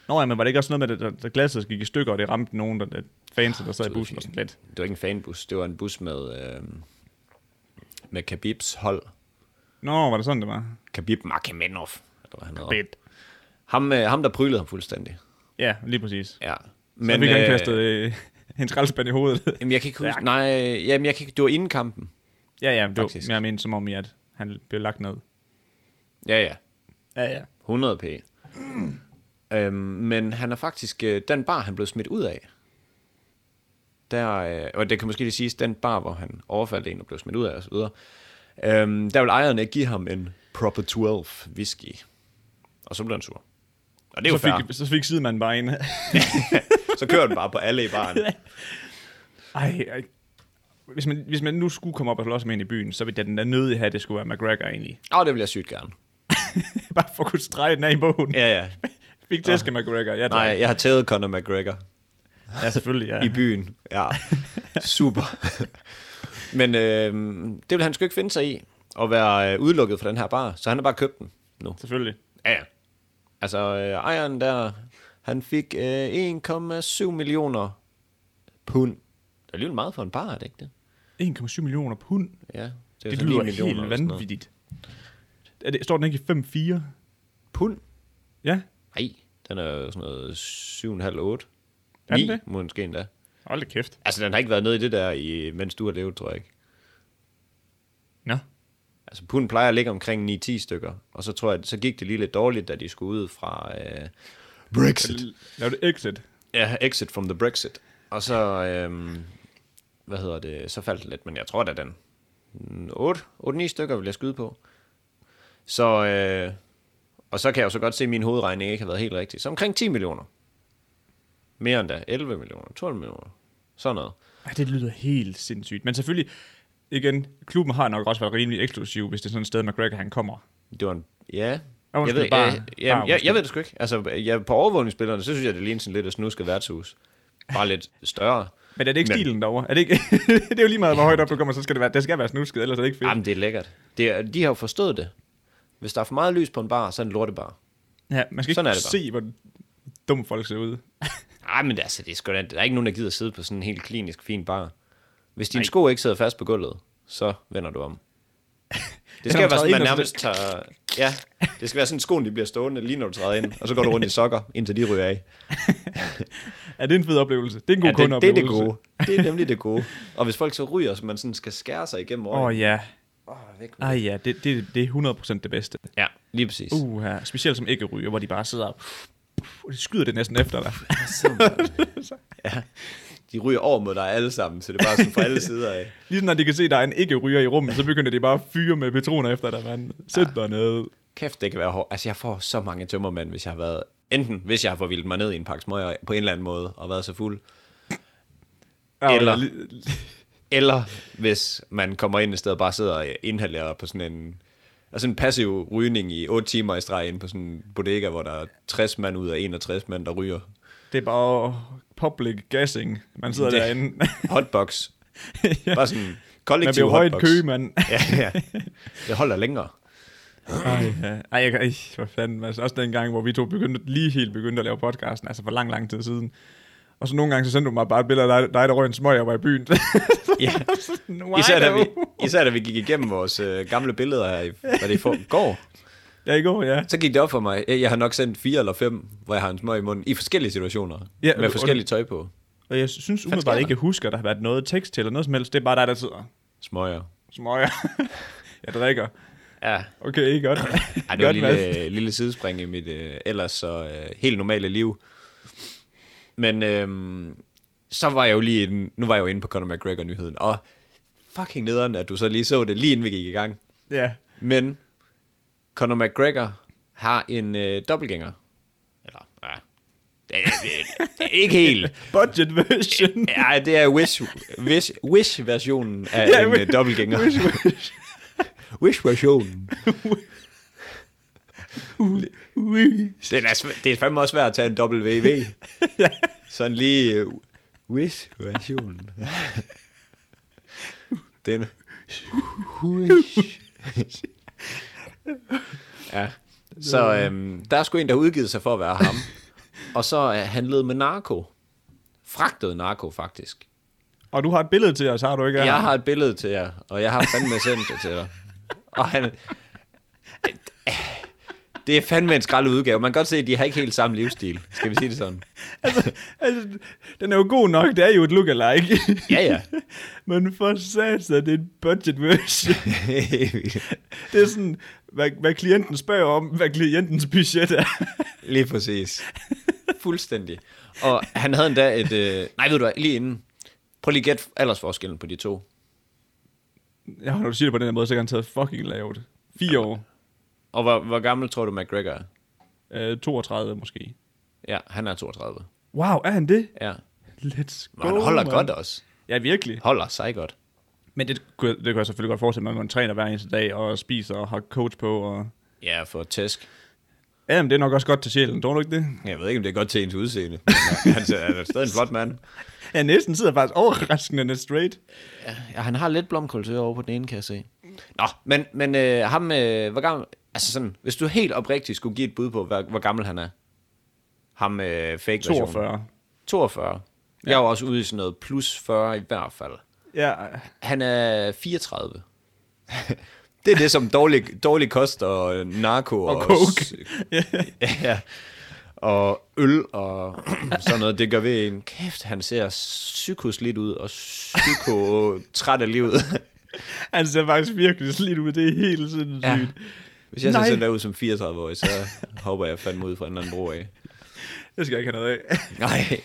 [SPEAKER 2] Nå ja, men var det ikke også noget med, at der, der glasset gik i stykker, og det ramte nogen, der, der fans, der sad i bussen og sådan lidt.
[SPEAKER 1] Det var ikke en fanbus, det var en bus med, øh, med kebibs hold.
[SPEAKER 2] Nå, var det sådan, det var?
[SPEAKER 1] Khabib Makhamenov, eller hvad han hedder.
[SPEAKER 2] Fedt.
[SPEAKER 1] Ham, øh, ham, der prylede ham fuldstændig.
[SPEAKER 2] Ja, lige præcis.
[SPEAKER 1] Ja.
[SPEAKER 2] Men, så fik han kastet øh, en skraldespand i hovedet.
[SPEAKER 1] Jamen, jeg kan ikke huske,
[SPEAKER 2] Ja.
[SPEAKER 1] nej, jamen, jeg kan ikke, det var inden kampen.
[SPEAKER 2] Ja, ja, det
[SPEAKER 1] Faktisk.
[SPEAKER 2] var, jeg mente som om, i, at han blev lagt ned.
[SPEAKER 1] Ja, ja.
[SPEAKER 2] Ja, ja.
[SPEAKER 1] 100 p. øhm, men han er faktisk, øh, den bar, han blev smidt ud af, der, øh, og det kan måske lige siges, den bar, hvor han overfaldt en og blev smidt ud af osv., øhm, der vil ejeren ikke give ham en proper 12 whisky. Og så blev han sur. Og det er jo
[SPEAKER 2] Så
[SPEAKER 1] fair.
[SPEAKER 2] fik, så fik sidemanden bare en.
[SPEAKER 1] Så kører den bare på alle i baren.
[SPEAKER 2] Ej, ej. Hvis man, hvis man nu skulle komme op og slås med en i byen, så ville den der nødig have, det skulle være McGregor egentlig.
[SPEAKER 1] Åh, det vil jeg sygt gerne.
[SPEAKER 2] Bare for at kunne strege den af i bogen.
[SPEAKER 1] Ja, ja.
[SPEAKER 2] Fik tæske McGregor, ja tak.
[SPEAKER 1] Nej, jeg har taget Conor McGregor.
[SPEAKER 2] Ja, selvfølgelig, ja.
[SPEAKER 1] i byen. Ja, super. Men øh, det vil han sgu ikke finde sig i, at være øh, udelukket fra den her bar, så han har bare købt den nu.
[SPEAKER 2] Selvfølgelig.
[SPEAKER 1] Ja, ja. Altså, øh, ejeren der, han fik øh, 1,7 millioner pund. Det er alligevel meget for en bar, er det ikke det?
[SPEAKER 2] 1,7 millioner pund.
[SPEAKER 1] Ja, er
[SPEAKER 2] Det,
[SPEAKER 1] så
[SPEAKER 2] det
[SPEAKER 1] 9
[SPEAKER 2] lyder
[SPEAKER 1] millioner
[SPEAKER 2] helt
[SPEAKER 1] eller sådan noget.
[SPEAKER 2] vanvittigt. Er det, står den ikke i 5-4?
[SPEAKER 1] Pund?
[SPEAKER 2] Ja,
[SPEAKER 1] Nej, den er jo sådan noget 7,5-8.
[SPEAKER 2] Er den
[SPEAKER 1] 9
[SPEAKER 2] det?
[SPEAKER 1] måske endda.
[SPEAKER 2] hold da kæft.
[SPEAKER 1] Altså, den har ikke været nede i det der, i, mens du har levet, tror jeg ikke.
[SPEAKER 2] Nå.
[SPEAKER 1] Altså punden plejer at ligge omkring 9-10 stykker, og så tror jeg, så gik det lige lidt dårligt, da de skulle ud fra øh,
[SPEAKER 3] Brexit.
[SPEAKER 2] Lav det exit.
[SPEAKER 1] ja, Exit from the Brexit. Og så, øh, hvad hedder det, så faldt den lidt, men jeg tror da den 8-9 stykker vil jeg skyde på. Så, øh, og så kan jeg jo så godt se, at min hovedregning ikke har været helt rigtig. Så omkring 10 millioner. Mere end da. 11 millioner, 12 millioner. Sådan noget.
[SPEAKER 2] Ej, det lyder helt sindssygt. Men selvfølgelig, igen, klubben har nok også været rimelig eksklusiv, hvis det er sådan et sted, McGregor han kommer.
[SPEAKER 1] Det var en... Ja.
[SPEAKER 2] Og undskyld,
[SPEAKER 1] jeg ved,
[SPEAKER 2] bare-
[SPEAKER 1] øh, ja,
[SPEAKER 2] bare
[SPEAKER 1] jeg,
[SPEAKER 2] undskyld.
[SPEAKER 1] jeg ved det sgu ikke. Altså, jeg, på overvågningsbillederne, så synes jeg, det ligner sådan lidt at snuske værtshus. Bare lidt større.
[SPEAKER 2] Men er det ikke
[SPEAKER 1] Men-
[SPEAKER 2] stilen derovre? Er det ikke... det er jo lige meget, hvor højt op du kommer, så skal det være, det skal være snusket, ellers er det ikke fedt.
[SPEAKER 1] Jamen, det er lækkert. Det er, de har jo forstået det. Hvis der er for meget lys på en bar, så er det en lortebar.
[SPEAKER 2] ja, man skal
[SPEAKER 1] sådan er
[SPEAKER 2] ikke
[SPEAKER 1] det bare.
[SPEAKER 2] se, hvor dumme folk ser ud.
[SPEAKER 1] Nej, men altså, det er sgu da, der er ikke nogen, der gider sidde på sådan en helt klinisk fin bar. Hvis dine sko ikke sidder fast på gulvet, så vender du om. Det
[SPEAKER 2] man
[SPEAKER 1] skal være
[SPEAKER 2] træder
[SPEAKER 1] sådan, man
[SPEAKER 2] ind, og
[SPEAKER 1] nærmest tager... Ja, det skal være sådan, at skoen de bliver stående, lige når du træder ind, og så går du rundt i sokker, indtil de ryger af.
[SPEAKER 2] Er det en fed oplevelse? Det er en god
[SPEAKER 1] Ja, det, det er
[SPEAKER 2] kundeoplevelse.
[SPEAKER 1] det gode. Det er nemlig det gode. Og hvis folk så ryger, så man sådan skal skære sig igennem
[SPEAKER 2] Åh
[SPEAKER 1] øjnene.
[SPEAKER 2] oh, ja.
[SPEAKER 1] Oh, væk.
[SPEAKER 2] Ej ja, det, det, det er 100% det bedste.
[SPEAKER 1] Ja, lige præcis. Uh.
[SPEAKER 2] Uh, ja. specielt som ikke ryger, hvor de bare sidder og... og de skyder det næsten efter dig.
[SPEAKER 1] De ryger over mod dig alle sammen, så det er bare sådan fra alle sider af.
[SPEAKER 2] Ligesom når de kan se, at der er en ikke ryger i rummet, så begynder de bare at fyre med patroner efter dig, mand. Sæt dig ned.
[SPEAKER 1] Kæft, det kan være hårdt. Altså, jeg får så mange tømmermænd, hvis jeg har været... Enten hvis jeg har forvildet mig ned i en pakke smøger på en eller anden måde og været så fuld.
[SPEAKER 2] Ja,
[SPEAKER 1] Eller-
[SPEAKER 2] li-
[SPEAKER 1] Eller hvis man kommer ind et sted og bare sidder og inhalerer på sådan en... Altså en passiv rygning i 8 timer i streg ind på sådan en bodega, hvor der er 60 mand ud af 61 mand, der ryger.
[SPEAKER 2] Det er bare public gassing. Man sidder
[SPEAKER 1] Det-
[SPEAKER 2] derinde.
[SPEAKER 1] Hotbox.
[SPEAKER 2] Ja.
[SPEAKER 1] Bare sådan
[SPEAKER 2] Man
[SPEAKER 1] kollektiv
[SPEAKER 2] bliver højt
[SPEAKER 1] hotbox.
[SPEAKER 2] kø, mand.
[SPEAKER 1] ja, ja. Det holder længere.
[SPEAKER 2] Ej, ja. Ej, jeg, ej, for fanden. Altså, også den gang, hvor vi to begyndte, lige helt begyndte at lave podcasten, altså for lang, lang tid siden. Og så nogle gange, så sendte du mig bare et billede af dig, dig der røg en smøg, jeg var i byen.
[SPEAKER 1] Ja.
[SPEAKER 2] Why
[SPEAKER 1] Især, da vi,
[SPEAKER 2] though?
[SPEAKER 1] især da vi gik igennem vores øh, gamle billeder her, i, hvad det for, går,
[SPEAKER 2] Ja, i går, ja.
[SPEAKER 1] så gik det op for mig. Jeg jeg har nok sendt fire eller fem, hvor jeg har en smøg i munden, i forskellige situationer,
[SPEAKER 2] Ja,
[SPEAKER 1] ja, med
[SPEAKER 2] und-
[SPEAKER 1] forskellige tøj på.
[SPEAKER 2] Og jeg synes
[SPEAKER 1] sker
[SPEAKER 2] umiddelbart
[SPEAKER 1] der?
[SPEAKER 2] ikke, jeg husker, at der har været noget tekst til eller noget som helst. Det er bare dig, der sidder.
[SPEAKER 1] Smøger.
[SPEAKER 2] Smøger. jeg drikker.
[SPEAKER 1] Ja,
[SPEAKER 2] Okay, godt.
[SPEAKER 1] Ej, det var et
[SPEAKER 2] Mads.
[SPEAKER 1] lille, lille sidespring i mit øh, ellers så øh, helt normale liv. Men øh, så var jeg jo lige inde, nu var jeg jo inde på Conor McGregor-nyheden, og fucking nederen, at du så lige så det, lige inden vi gik i gang.
[SPEAKER 2] Ja.
[SPEAKER 1] Men Conor McGregor har en øh, dobbeltgænger. Eller, ja. Det er, det er ikke helt.
[SPEAKER 2] Budget version.
[SPEAKER 1] Ja, det er Wish, wish, wish versionen af
[SPEAKER 2] Ja,
[SPEAKER 1] ja, en
[SPEAKER 2] Wish-
[SPEAKER 1] øh, dobbeltgænger. Wish, wish versionen. Det er, sv- det er fandme også værd at tage en WV. Sådan lige øh, wish versionen. Den. Wish. Ja. Så øhm, der er sgu en, der har udgivet sig for at være ham. Og så øh, han led med narko. Fragtet narko, faktisk.
[SPEAKER 2] Og du har et billede til os, har du ikke?
[SPEAKER 1] Jeg har et billede til jer, og jeg har fandme sendt det til dig. Og han... Det er fandme en skrald udgave. Man kan godt se, at de har ikke helt samme livsstil. Skal vi sige det sådan?
[SPEAKER 2] Altså, den er jo god nok, det er jo et lookalike.
[SPEAKER 1] Ja, ja.
[SPEAKER 2] Men for sats, er det en budget version. Det er sådan, hvad, hvad klienten spørger om, hvad klientens budget er.
[SPEAKER 1] Lige præcis. Fuldstændig. Og han havde endda et... Øh... Nej, ved du hvad, lige inden. Prøv lige at gætte aldersforskellen på de to.
[SPEAKER 2] Ja, når du siger det på den her måde, så kan han tage fucking lavt. 4 år.
[SPEAKER 1] Og hvor, hvor gammel tror du McGregor er?
[SPEAKER 2] Øh, 32 måske.
[SPEAKER 1] Ja, han er 32.
[SPEAKER 2] Wow, er han det?
[SPEAKER 1] Ja.
[SPEAKER 2] Let's
[SPEAKER 1] Og
[SPEAKER 2] go,
[SPEAKER 1] han holder
[SPEAKER 2] man.
[SPEAKER 1] godt også.
[SPEAKER 2] Ja, virkelig.
[SPEAKER 1] Holder sig godt.
[SPEAKER 2] Men det, kunne jeg- det kan jeg selvfølgelig godt forestille mig, at man træner hver eneste dag og spiser og har coach på. Og...
[SPEAKER 1] Ja, for tæsk.
[SPEAKER 2] Ja, men det er nok også godt til sjælen, tror du ikke det?
[SPEAKER 1] Jeg ved ikke, om det er godt til ens udseende. Men øh, han er- han er stadig en flot mand.
[SPEAKER 2] Ja, næsten sidder faktisk overraskende net straight.
[SPEAKER 1] Ja, han har lidt blomkålsøre over på den ene, kan jeg se. Nå, men, men øh, ham, øh, hvor gammel... Altså sådan, hvis du helt oprigtigt skulle give et bud på, hvor, hvor gammel han er. Ham øh, fake
[SPEAKER 2] 42.
[SPEAKER 1] 42. Ja. Jeg var også ude i sådan noget plus 40 i hvert fald.
[SPEAKER 2] Ja,
[SPEAKER 1] Han er 34. det er det, som dårlig, dårlig kost og øh, narko og,
[SPEAKER 2] coke.
[SPEAKER 1] s- ja. Og øl og sådan noget, det gør ved en. Kæft, han ser psykoslidt ud og psyko træt af livet.
[SPEAKER 2] Han ser faktisk virkelig slidt ud. Det er helt sindssygt.
[SPEAKER 1] Ja.
[SPEAKER 2] Ja.
[SPEAKER 1] Hvis jeg
[SPEAKER 2] Nej.
[SPEAKER 1] ser sådan der ud som 34-årig, så hopper jeg fandme ud fra en eller anden bro af.
[SPEAKER 2] Det skal jeg ikke have noget af.
[SPEAKER 1] Nej.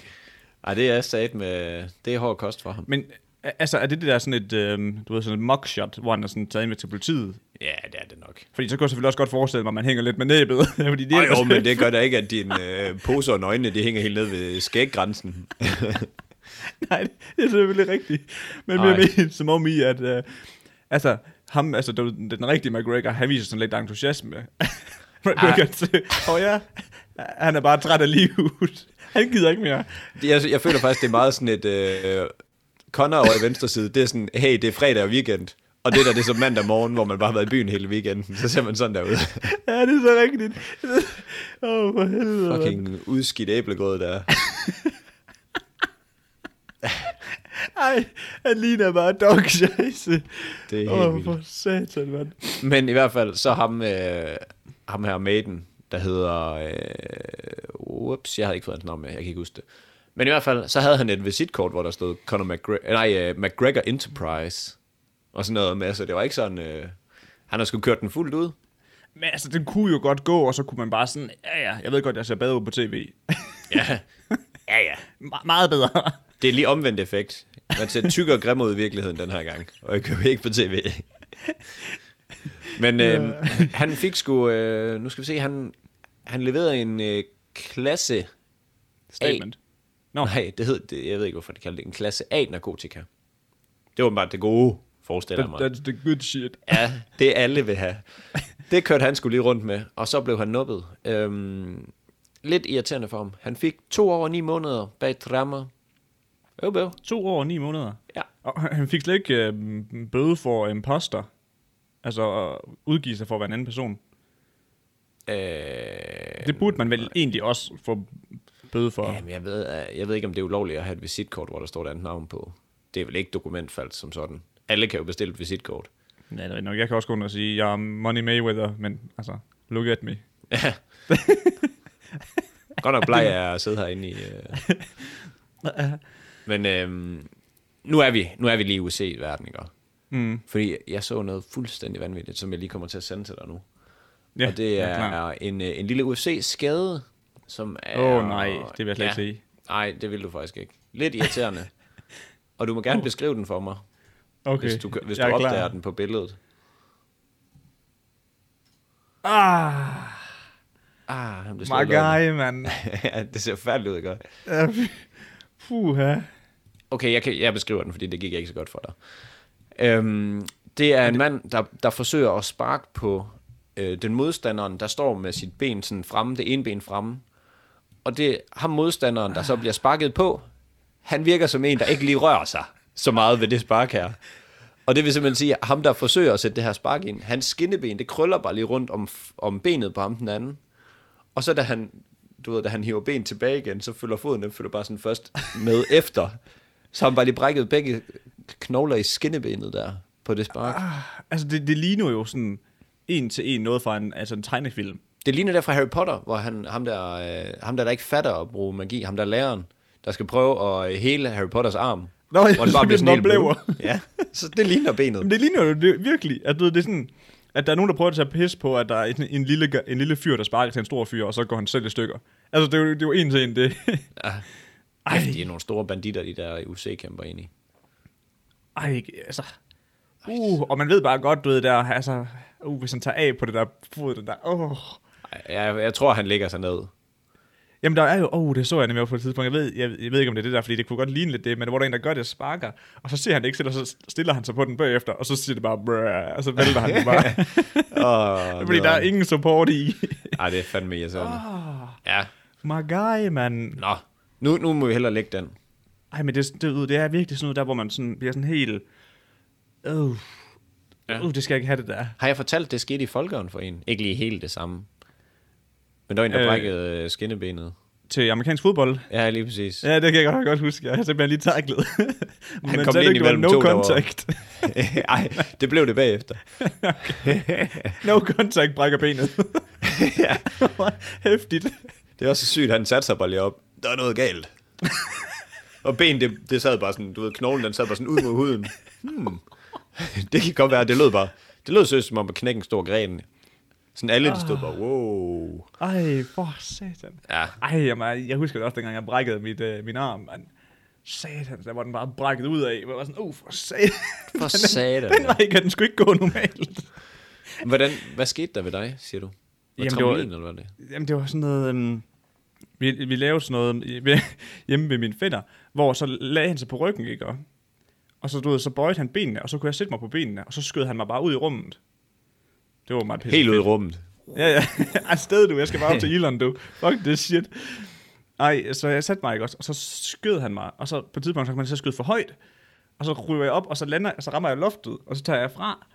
[SPEAKER 1] Ej, det er sat med... Det er hård kost for ham.
[SPEAKER 2] Men a- altså, er det det der sådan et, øhm, du ved, sådan et mugshot, hvor han er sådan taget med til politiet?
[SPEAKER 1] Ja, det er det nok.
[SPEAKER 2] Fordi så kunne jeg selvfølgelig også godt forestille mig, at man hænger lidt med næbet. fordi det
[SPEAKER 1] Det
[SPEAKER 2] er
[SPEAKER 1] er jo, men det gør da ikke, at dine øh, poser og nøgne, de hænger helt ned ved skæggrænsen.
[SPEAKER 2] Nej, det er selvfølgelig rigtigt. Men
[SPEAKER 1] Nej.
[SPEAKER 2] mere mener, som om i, at... Øh, altså, ham, altså, du- den, den rigtige McGregor, han viser sådan lidt entusiasme. McGregor, til- åh ja, han er bare træt af livet. Han gider ikke mere.
[SPEAKER 1] Jeg, jeg føler faktisk, det er meget sådan et... Øh, Connor over i venstre side, det er sådan, hey, det er fredag og weekend. Og det der, det er så mandag morgen, hvor man bare har været i byen hele weekenden. Så ser man sådan der ud.
[SPEAKER 2] Ja, det er så rigtigt. Åh, oh, for helvede. mand.
[SPEAKER 1] Fucking udskidt æblegrød der.
[SPEAKER 2] Ej, han ligner bare dog scheisse.
[SPEAKER 1] Det er helt
[SPEAKER 2] Åh,
[SPEAKER 1] vildt.
[SPEAKER 2] for satan, mand.
[SPEAKER 1] Men i hvert fald, så ham, øh, ham her maiden, der hedder... Øh, ups, jeg havde ikke fået hans navn med, jeg kan ikke huske det. Men i hvert fald, så havde han et visitkort, hvor der stod Conor McGregor, nej, øh, McGregor Enterprise. Og sådan noget med, så det var ikke sådan... Øh, han har sgu kørt den fuldt ud.
[SPEAKER 2] Men altså, den kunne jo godt gå, og så kunne man bare sådan, ja ja, jeg ved godt, jeg ser bedre ud på tv.
[SPEAKER 1] Ja, ja, ja.
[SPEAKER 2] Me- meget bedre.
[SPEAKER 1] Det er lige omvendt effekt. Man ser tyk og grim ud i virkeligheden den her gang, og jeg køber ikke på tv. Men øh, han fik sgu, øh, nu skal vi se, han, han leverede en øh, klasse
[SPEAKER 2] Statement.
[SPEAKER 1] Nå. Nej, det hed, det, jeg ved ikke, hvorfor det kaldte det en klasse A narkotika. Det var bare det gode, forestiller jeg mig.
[SPEAKER 2] That, that's the good shit.
[SPEAKER 1] Ja, det alle vil have. Det kørte han skulle lige rundt med, og så blev han nubbet. Øhm, lidt irriterende for ham. Han fik to år og ni måneder bag trammer. Øv, bøv.
[SPEAKER 2] To år og ni måneder.
[SPEAKER 1] Ja.
[SPEAKER 2] Og han han fik slet ikke øh, m- bøde for imposter. Altså at udgive sig for at være en anden person.
[SPEAKER 1] Øh,
[SPEAKER 2] Det burde man vel egentlig også få bøde for.
[SPEAKER 1] Jamen, jeg ved, øh, jeg ved ikke, om det er ulovligt at have et visitkort, hvor der står et andet navn på. Det er vel ikke dokumentfalsk som sådan. Alle kan jo bestille et visitkort.
[SPEAKER 2] Ja, det er nok. Jeg kan også gå ind og sige, jeg er Money Mayweather, men altså, look at me.
[SPEAKER 1] Ja. Godt nok bleg er at sidde herinde i... Øh. Men øhm, nu, er vi, nu er vi lige E i UC-verden, ikke? Mm. Fordi jeg så noget fuldstændig vanvittigt, som jeg lige kommer til at sende til dig nu.
[SPEAKER 2] Ja,
[SPEAKER 1] og det
[SPEAKER 2] ja,
[SPEAKER 1] er,
[SPEAKER 2] klar.
[SPEAKER 1] en, øh, en lille UFC-skade, som er...
[SPEAKER 2] Åh, nej, det vil jeg slet ikke se.
[SPEAKER 1] Nej, det vil du faktisk ikke. Lidt irriterende. og du må
[SPEAKER 2] Uh.
[SPEAKER 1] gerne beskrive den for mig,
[SPEAKER 2] Okay,
[SPEAKER 1] okay. hvis du, hvis du
[SPEAKER 2] jeg er
[SPEAKER 1] opdager
[SPEAKER 2] klar.
[SPEAKER 1] den på billedet.
[SPEAKER 2] Ah,
[SPEAKER 1] Ah, han blev
[SPEAKER 2] my
[SPEAKER 1] slået i lommen.
[SPEAKER 2] guy, mand.
[SPEAKER 1] ja, det ser færdigt ud, ikke?
[SPEAKER 2] Ja, Puha.
[SPEAKER 1] Okay, jeg, kan, jeg beskriver den, fordi det gik ikke så godt for dig. Øhm, det er en mand, der, der forsøger at sparke på øh, den modstanderen, der står med sit ben sådan fremme, det ene ben fremme. Og det er ham modstanderen, der så bliver sparket på. Han virker som en, der ikke lige rører sig så meget ved det spark her. Og det vil simpelthen sige, at ham, der forsøger at sætte det her spark ind, hans skinneben, det krøller bare lige rundt om, om benet på ham den anden. Og så da han, du ved, da han hiver ben tilbage igen, så følger foden, den følger bare sådan først med efter. Så har han bare lige brækket begge knogler i skinnebenet der på det spark.
[SPEAKER 2] Altså, det, det ligner jo sådan en til en noget fra en, altså en tegnefilm.
[SPEAKER 1] Det ligner der fra Harry Potter, hvor han, ham, der, øh, ham der, der ikke fatter at bruge magi, ham der er læreren, der skal prøve at øh, hele Harry Potters arm.
[SPEAKER 2] Nå, ja,
[SPEAKER 1] hvor den
[SPEAKER 2] så bliver den
[SPEAKER 1] sådan helt
[SPEAKER 2] oplever.
[SPEAKER 1] brun. Ja, så det ligner
[SPEAKER 2] Jamen,
[SPEAKER 1] benet.
[SPEAKER 2] det ligner jo det, virkelig, at du ved, det er sådan, at der er nogen, der prøver at tage pis på, at der er en, en, lille, g- en lille fyr, der sparker til en stor fyr, og så går han selv i stykker. Altså, det er jo, det er jo en til en, det.
[SPEAKER 1] Ej, de er nogle store banditter, de der UC-kæmper ind i.
[SPEAKER 2] Ej, ikke- altså. Uh, og man ved bare godt, du ved der, altså, uh, hvis han tager af på det der fod, den der, åh. Oh.
[SPEAKER 1] Ej, Jeg, jeg tror, han ligger sig ned.
[SPEAKER 2] Jamen, der er jo, åh, oh, det så jeg nemlig på et tidspunkt. Jeg ved, jeg, jeg ved ikke, om det er det der, fordi det kunne godt ligne lidt det, men hvor der er en, der gør det, sparker, og så ser han det ikke selv, og så stiller han sig på den bagefter, og så siger det bare, brrr, og så vælter han det bare.
[SPEAKER 1] Åh,
[SPEAKER 2] fordi der er ingen support i.
[SPEAKER 1] Ej, det er fandme irriterende.
[SPEAKER 2] Ah.
[SPEAKER 1] Ja,
[SPEAKER 2] My guy, man.
[SPEAKER 1] nå. Nu, nu må vi hellere lægge den.
[SPEAKER 2] Ej, men det, det, ved du, det er virkelig sådan noget der, hvor man sådan, bliver sådan helt...
[SPEAKER 1] Ja.
[SPEAKER 2] Øh, ja. øh, det skal jeg ikke have det der.
[SPEAKER 1] Har jeg fortalt, det skete i Folkeren for en? Ikke lige helt det samme. Men der var en, der øh.
[SPEAKER 2] Øh.
[SPEAKER 1] brækkede øh, skinnebenet.
[SPEAKER 2] Til amerikansk fodbold.
[SPEAKER 1] Ja, lige præcis.
[SPEAKER 2] Ja, det kan jeg godt, godt huske. Jeg har simpelthen lige taklet. men
[SPEAKER 1] kom
[SPEAKER 2] så er
[SPEAKER 1] ind
[SPEAKER 2] det ikke, det var
[SPEAKER 1] imellem
[SPEAKER 2] no
[SPEAKER 1] to, der var-
[SPEAKER 2] contact.
[SPEAKER 1] Ej, det blev det bagefter.
[SPEAKER 2] no contact brækker benet.
[SPEAKER 1] ja.
[SPEAKER 2] Hæftigt.
[SPEAKER 1] Det var så sygt, han satte sig bare lige op. Der er noget galt. og ben, det, det sad bare sådan, du ved, knoglen, den sad bare sådan ud mod huden. Hmm. det kan godt være, det lød bare... Det lød sødt, som om at knække en stor gren. Sådan alle, de stod bare, wow.
[SPEAKER 2] Ej, for satan.
[SPEAKER 1] Ah. Ja.
[SPEAKER 2] Ej, jamen, jeg husker det også, dengang jeg brækkede mit, øh, min arm, mand. Satan, der var den bare brækket ud af. Jeg var sådan, uh, for satan.
[SPEAKER 1] For satan.
[SPEAKER 2] Den vej kan den skulle ikke gå normalt.
[SPEAKER 1] Hvordan, hvad skete der ved dig, siger du? Var
[SPEAKER 2] Jamen,
[SPEAKER 1] Jamen,
[SPEAKER 2] det var-
[SPEAKER 1] trampolin, eller hvad var det?
[SPEAKER 2] Jamen, det var sådan noget... Øhm, vi, vi lavede sådan noget øh, hjemme ved min fætter, hvor så lagde han sig på ryggen, ikke? Og, og så, du ved, så bøjede han benene, og så kunne jeg sætte mig på benene, og så skød han mig bare ud i rummet. Det var meget pisse.
[SPEAKER 1] Helt ud i rummet.
[SPEAKER 2] Ja, ja. Afsted du, jeg skal bare op til Elon, du. Fuck det shit. Ej, så jeg satte mig ikke også, og så skød han mig. Og så på et tidspunkt, så kan man så skyde for højt. Og så ryger jeg op, og så lander, og så rammer jeg loftet, og så tager jeg fra.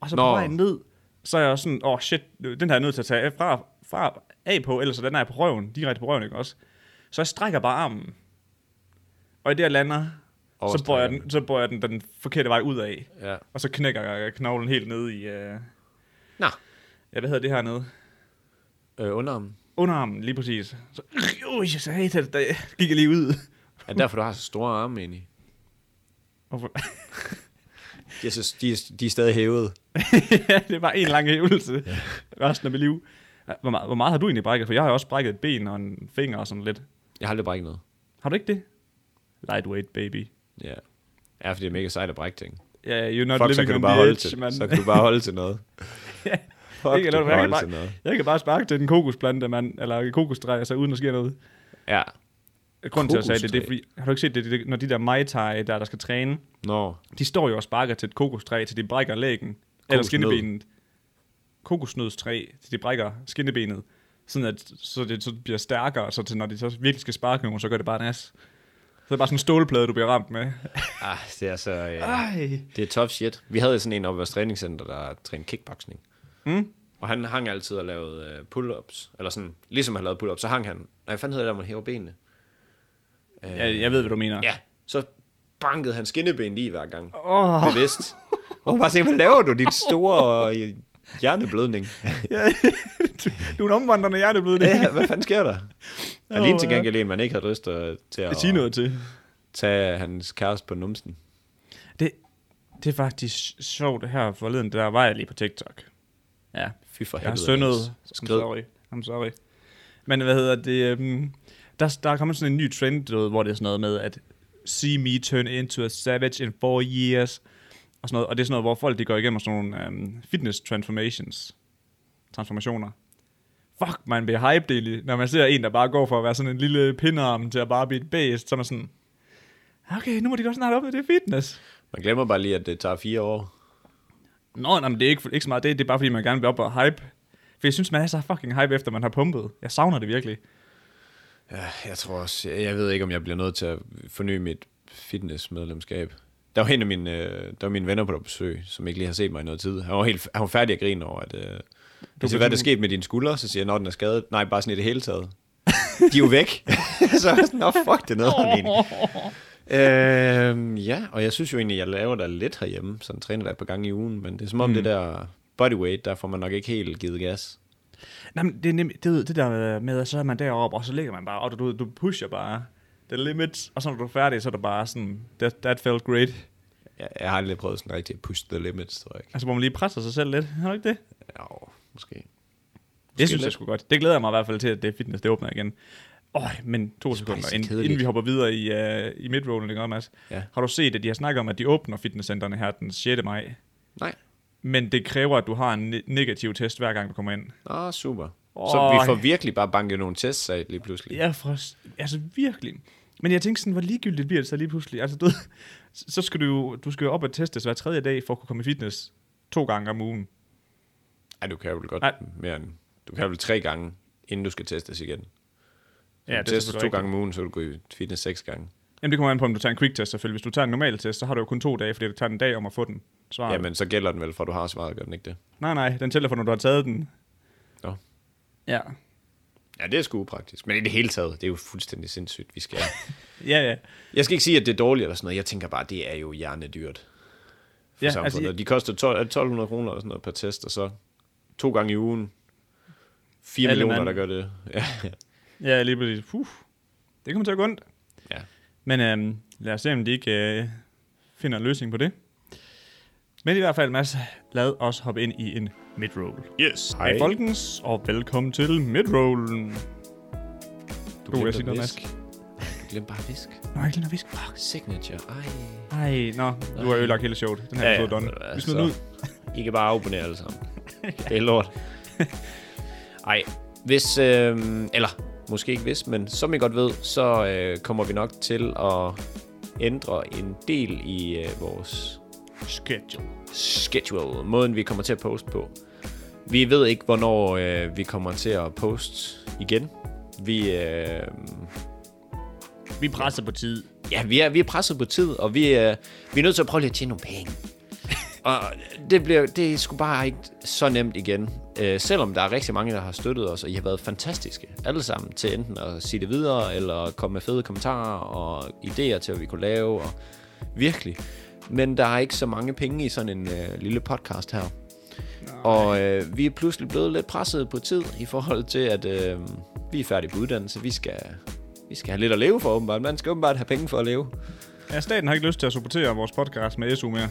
[SPEAKER 2] Og så på
[SPEAKER 1] Nå.
[SPEAKER 2] vej ned, så er jeg sådan, åh oh, shit, den her er jeg nødt til at tage af fra, fra af på, ellers så lander jeg på røven, direkte på røven, ikke også? Så jeg strækker bare armen. Og i det, jeg lander, så bøjer,
[SPEAKER 1] Overstrækker
[SPEAKER 2] jeg den, så bøjer jeg den den forkerte vej ud af.
[SPEAKER 1] Ja.
[SPEAKER 2] Og så knækker jeg knoglen helt ned i, øh,
[SPEAKER 1] Nå,
[SPEAKER 2] ja, hvad hedder det her nede?
[SPEAKER 1] øh, underarmen.
[SPEAKER 2] underarmen, lige præcis. Så, øh, jeg sagde, det, der gik jeg lige ud.
[SPEAKER 1] Er det derfor, du har så store arme egentlig?
[SPEAKER 2] Hvorfor?
[SPEAKER 1] De er, så, de, er, de er stadig hævet.
[SPEAKER 2] ja, det var en lang hævelse ja. resten af mit liv. Hvor meget, hvor meget har du egentlig brækket? For jeg har jo også brækket et ben og en finger og sådan lidt.
[SPEAKER 1] Jeg har aldrig brækket noget.
[SPEAKER 2] Har du ikke det? Lightweight, baby.
[SPEAKER 1] Ja. Ja, fordi det er mega sejt at brække ting.
[SPEAKER 2] Ja, yeah, you're not
[SPEAKER 1] Fuck, så
[SPEAKER 2] living
[SPEAKER 1] kan, du
[SPEAKER 2] on
[SPEAKER 1] bare
[SPEAKER 2] the
[SPEAKER 1] holde
[SPEAKER 2] edge,
[SPEAKER 1] til,
[SPEAKER 2] man.
[SPEAKER 1] så kan du bare holde til noget.
[SPEAKER 2] Ja.
[SPEAKER 1] Fuck,
[SPEAKER 2] jeg,
[SPEAKER 1] du kan
[SPEAKER 2] kan, jeg, kan
[SPEAKER 1] holde til
[SPEAKER 2] bare,
[SPEAKER 1] noget.
[SPEAKER 2] jeg kan bare sparke til den kokosplante, mand. Eller et kokostræ, altså uden at sker noget.
[SPEAKER 1] Ja.
[SPEAKER 2] Grunden til, at jeg sagde det, det er
[SPEAKER 1] Kokostræ.
[SPEAKER 2] fordi, har du ikke set det, det når de der Mai Tai, der, der skal træne,
[SPEAKER 1] Nå.
[SPEAKER 2] De står jo og sparker til et kokostræ, til de brækker lægen. Eller
[SPEAKER 1] Kokosnød.
[SPEAKER 2] skinnebenet. Kokosnødstræ, til de brækker skinnebenet. Sådan at så det så bliver stærkere, så til, når de så virkelig skal sparke nogen, så gør det bare nas. Så er det bare sådan en stålplade, du bliver ramt med.
[SPEAKER 1] Ah, det er så... Øh,
[SPEAKER 2] Ej.
[SPEAKER 1] det er tough shit. Vi havde sådan en oppe i vores træningscenter, der trænede kickboxing.
[SPEAKER 2] Mm?
[SPEAKER 1] Og han hang altid og lavede øh, pull-ups. Eller sådan, ligesom han lavede pull-ups, så hang han. Nej, hvad fanden hedder det, når man hæver benene?
[SPEAKER 2] Jeg, jeg ved, hvad du mener.
[SPEAKER 1] Ja, så bankede han skinnebenet i hver gang.
[SPEAKER 2] Åh, oh,
[SPEAKER 1] Bevidst. Og bare se, hvad laver du, din store øh, hjerneblødning?
[SPEAKER 2] du er en omvandrende hjerneblødning.
[SPEAKER 1] Ja, hvad fanden sker der?
[SPEAKER 2] Åh,
[SPEAKER 1] Alene til
[SPEAKER 2] ja.
[SPEAKER 1] gengæld en, man ikke havde lyst til til
[SPEAKER 2] Jeg
[SPEAKER 1] at
[SPEAKER 2] siger noget til.
[SPEAKER 1] tage hans kæreste på numsen.
[SPEAKER 2] Det, det er faktisk sjovt det her forleden. Der var jeg lige på TikTok. Ja,
[SPEAKER 1] Fy for
[SPEAKER 2] Jeg har
[SPEAKER 1] helvede.
[SPEAKER 2] syndet.
[SPEAKER 1] Anders.
[SPEAKER 2] I'm
[SPEAKER 1] Skrid.
[SPEAKER 2] sorry. I'm sorry. Men hvad hedder det? øhm, Der, der er kommet sådan en ny trend, du ved, hvor det er sådan noget med, at see me turn into a savage in four years. Og, sådan noget. og det er sådan noget, hvor folk de går igennem sådan nogle um, fitness transformations. Transformationer. Fuck, man bliver hyped egentlig, når man ser en, der bare går fra at være sådan en lille pindarm til at bare blive et bæst, så er man sådan, okay, nu må de godt snart op med det fitness.
[SPEAKER 1] Man glemmer bare lige, at det tager fire år.
[SPEAKER 2] Nå, nej, men det er ikke, ikke så meget det. Det er bare, fordi man gerne vil op og hype. For jeg synes, man er så fucking hype, efter man har pumpet. Jeg savner det virkelig.
[SPEAKER 1] Ja, jeg tror også, jeg, jeg ved ikke, om jeg bliver nødt til at forny mit fitnessmedlemskab. Der var en af mine, øh, der var mine venner på der besøg, som ikke lige har set mig i noget tid. Han var, helt, han var færdig at grine over, at... Øh, altså, hvad er der sket med dine skuldre? Så siger jeg, når den er skadet. Nej, bare sådan i det hele taget. De er jo væk. så er jeg sådan, nå, fuck, det er noget, egentlig. Øh, ja, og jeg synes jo egentlig, jeg laver der lidt herhjemme, sådan træner der et par gange i ugen, men det er som om mm. det der bodyweight, der får man nok ikke helt givet gas.
[SPEAKER 2] Nej, men det er nemlig, det, det der med, at så er man deroppe, og så ligger man bare, og du, du pusher bare the limits, og så når du er færdig, så er det bare sådan, that, that felt great.
[SPEAKER 1] Jeg, jeg har aldrig prøvet sådan rigtig at push the limits, tror jeg ikke.
[SPEAKER 2] Altså, hvor man lige presser sig selv lidt. Har du ikke det?
[SPEAKER 1] Ja, måske.
[SPEAKER 2] Det synes jeg
[SPEAKER 1] lidt.
[SPEAKER 2] sgu godt. Det glæder jeg mig i hvert fald til, at det fitness, det åbner igen. Åh, men to sekunder,
[SPEAKER 1] så
[SPEAKER 2] inden,
[SPEAKER 1] kedeligt.
[SPEAKER 2] inden vi hopper videre i, uh, i midrollen, ikke også, Mads?
[SPEAKER 1] Ja.
[SPEAKER 2] Har du set, at de har snakket om, at de åbner fitnesscenterne her den 6. maj?
[SPEAKER 1] Nej.
[SPEAKER 2] Men det kræver, at du har en ne- negativ test, hver gang du kommer ind.
[SPEAKER 1] Nå, super. Så vi
[SPEAKER 2] Åh.
[SPEAKER 1] får virkelig bare banket nogle tests af lige pludselig.
[SPEAKER 2] Ja, for, s- altså virkelig. Men jeg tænkte sådan, hvor ligegyldigt bliver det så lige pludselig? Altså, du, ved, s- så skal du jo, du skal jo op og testes hver tredje dag, for at kunne komme i fitness to gange om ugen.
[SPEAKER 1] Ej, du kan jo vel godt
[SPEAKER 2] Nej.
[SPEAKER 1] mere end... Du kan vel tre gange, inden du skal testes igen.
[SPEAKER 2] Ja,
[SPEAKER 1] Ja,
[SPEAKER 2] det
[SPEAKER 1] det
[SPEAKER 2] er
[SPEAKER 1] testes
[SPEAKER 2] selvfølgelig
[SPEAKER 1] to
[SPEAKER 2] rigtigt.
[SPEAKER 1] gange om ugen, så vil du gå i fitness seks gange.
[SPEAKER 2] Jamen, det kommer an på, om du tager en quick test selvfølgelig. Hvis du tager en normal test, så har du jo kun to dage, fordi du tager en dag om at få den. Svar.
[SPEAKER 1] Ja, men så gælder den vel, for du har svaret, gør den ikke det?
[SPEAKER 2] Nej, nej, den tæller for, når du har taget den.
[SPEAKER 1] Nå.
[SPEAKER 2] Ja.
[SPEAKER 1] Ja, det er sgu upraktisk. Men i det hele taget, det er jo fuldstændig sindssygt, vi skal...
[SPEAKER 2] Ja, ja.
[SPEAKER 1] Jeg skal ikke sige, at det er dårligt eller sådan noget. Jeg tænker bare, det er jo hjernedyrt for
[SPEAKER 2] Ja,
[SPEAKER 1] ja,
[SPEAKER 2] altså,
[SPEAKER 1] samfundet.
[SPEAKER 2] jeg-
[SPEAKER 1] Altså, de koster 12, er det 1200 kroner eller sådan noget per test, og så to gange i ugen. 4
[SPEAKER 2] Alle
[SPEAKER 1] millioner,
[SPEAKER 2] mand.
[SPEAKER 1] der gør det. Ja,
[SPEAKER 2] Ja, lige præcis. Puh. Det kommer til at gå ondt.
[SPEAKER 1] ja.
[SPEAKER 2] Men øhm, lad os se, om de ikke øh, finder en løsning på det. Men i hvert fald, Mads, lad os hoppe ind i en midroll.
[SPEAKER 3] Yes.
[SPEAKER 2] Hej. Hej folkens, og velkommen til midrollen.
[SPEAKER 1] Du
[SPEAKER 2] vil
[SPEAKER 1] glemte
[SPEAKER 2] jeg sige
[SPEAKER 1] at
[SPEAKER 2] noget,
[SPEAKER 1] viske. Du glemte bare at visk.
[SPEAKER 2] Nå, jeg glemmer visk.
[SPEAKER 1] Signature. Ej.
[SPEAKER 2] Ej, nå, du har ødelagt hele showet. Den her
[SPEAKER 1] Ja,
[SPEAKER 2] episode
[SPEAKER 1] ja,
[SPEAKER 2] er
[SPEAKER 1] ved du hvad,
[SPEAKER 2] done. Vi smider den ud.
[SPEAKER 1] så- I kan bare abonnere alle sammen. Det er lort. Ej, hvis, øh, eller måske ikke hvis, men som I godt ved, så øh, kommer vi nok til at ændre en del i øh, vores
[SPEAKER 2] Schedule.
[SPEAKER 1] schedule, måden vi kommer til at poste på. Vi ved ikke, hvornår øh, vi kommer til at poste igen. Vi, øh,
[SPEAKER 2] Vi presser på tid.
[SPEAKER 1] ja, vi, er, vi er presset på tid, og vi, øh, vi er nødt til at prøve lige at tjene nogle penge. og det, bliver, det er sgu bare ikke så nemt igen. Øh, selvom der er rigtig mange, der har støttet os, og I har været fantastiske alle sammen til enten at sige det videre, eller komme med fede kommentarer og idéer til, hvad vi kunne lave. Og virkelig. Men der er ikke så mange penge i sådan en øh, lille podcast her. Og øh, vi er pludselig blevet lidt presset på tid i forhold til, at øh, vi er færdige på uddannelse. Vi skal, vi skal have lidt at leve for, åbenbart. Man skal åbenbart have penge for at leve.
[SPEAKER 2] Ja, staten har ikke lyst til at supportere vores podcast med SU mere.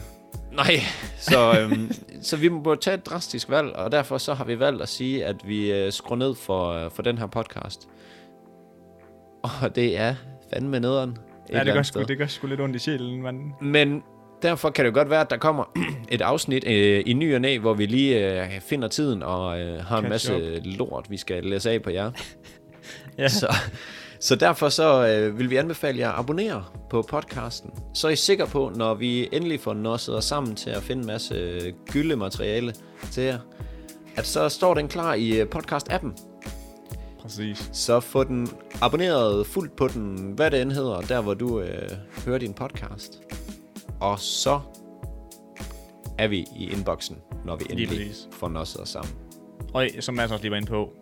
[SPEAKER 1] Nej, så, øhm, så vi må tage et drastisk valg, og derfor så har vi valgt at sige, at vi øh, skruer ned for, øh, for den her podcast. Og det er fandme nederen. et eller
[SPEAKER 2] Ja, det
[SPEAKER 1] andet
[SPEAKER 2] gør,
[SPEAKER 1] sted.
[SPEAKER 2] sgu, det gør sgu lidt ondt i sjælen, mand.
[SPEAKER 1] Men derfor kan det jo godt være, at der kommer et afsnit øh, i ny og næ, hvor vi lige øh, finder tiden og øh, har en
[SPEAKER 2] Catch
[SPEAKER 1] masse
[SPEAKER 2] up.
[SPEAKER 1] lort, vi skal læse af på jer.
[SPEAKER 2] Ja.
[SPEAKER 1] Så, så derfor så øh, vil vi anbefale jer at abonnere på podcasten. Så er I sikre på, når vi endelig får nosset os sammen til at finde en masse øh, gylde materiale til jer, at så står den klar i øh, podcast-appen.
[SPEAKER 2] Præcis.
[SPEAKER 1] Så få den abonneret fuldt på den, hvad det end hedder, der hvor du øh, hører din podcast. Og så er vi i inboxen, når vi endelig
[SPEAKER 2] præcis.
[SPEAKER 1] får nosset os sammen.
[SPEAKER 2] Og som Mads også lige var inde på,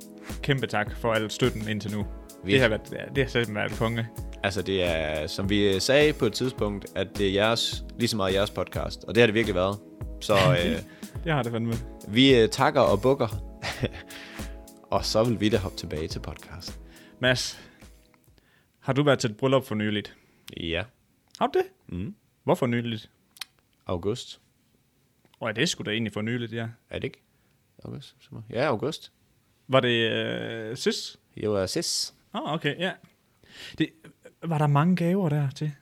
[SPEAKER 2] kæmpe tak for al støtten indtil nu.
[SPEAKER 1] Vi-
[SPEAKER 2] Det har, været, ja, det har simpelthen været konge.
[SPEAKER 1] Altså det er, som vi sagde på et tidspunkt, at det er jeres, lige så meget jeres podcast. Og det har det virkelig været. Så øh,
[SPEAKER 2] Det har det fandme.
[SPEAKER 1] vi øh, takker og bukker. og så vil vi da hoppe tilbage til podcast.
[SPEAKER 2] Mads, har du været til et bryllup for nyligt?
[SPEAKER 1] Ja,
[SPEAKER 2] Har du det? Mm. Hvorfor nyligt?
[SPEAKER 1] august.
[SPEAKER 2] Og er det sgu da egentlig for nyligt, ja.
[SPEAKER 1] Er det ikke? August? sommer? Ja, august.
[SPEAKER 2] Var det øh, sidst?
[SPEAKER 1] Jeg var sidst.
[SPEAKER 2] Ah, oh, okay, ja. Det, var der mange gaver der til?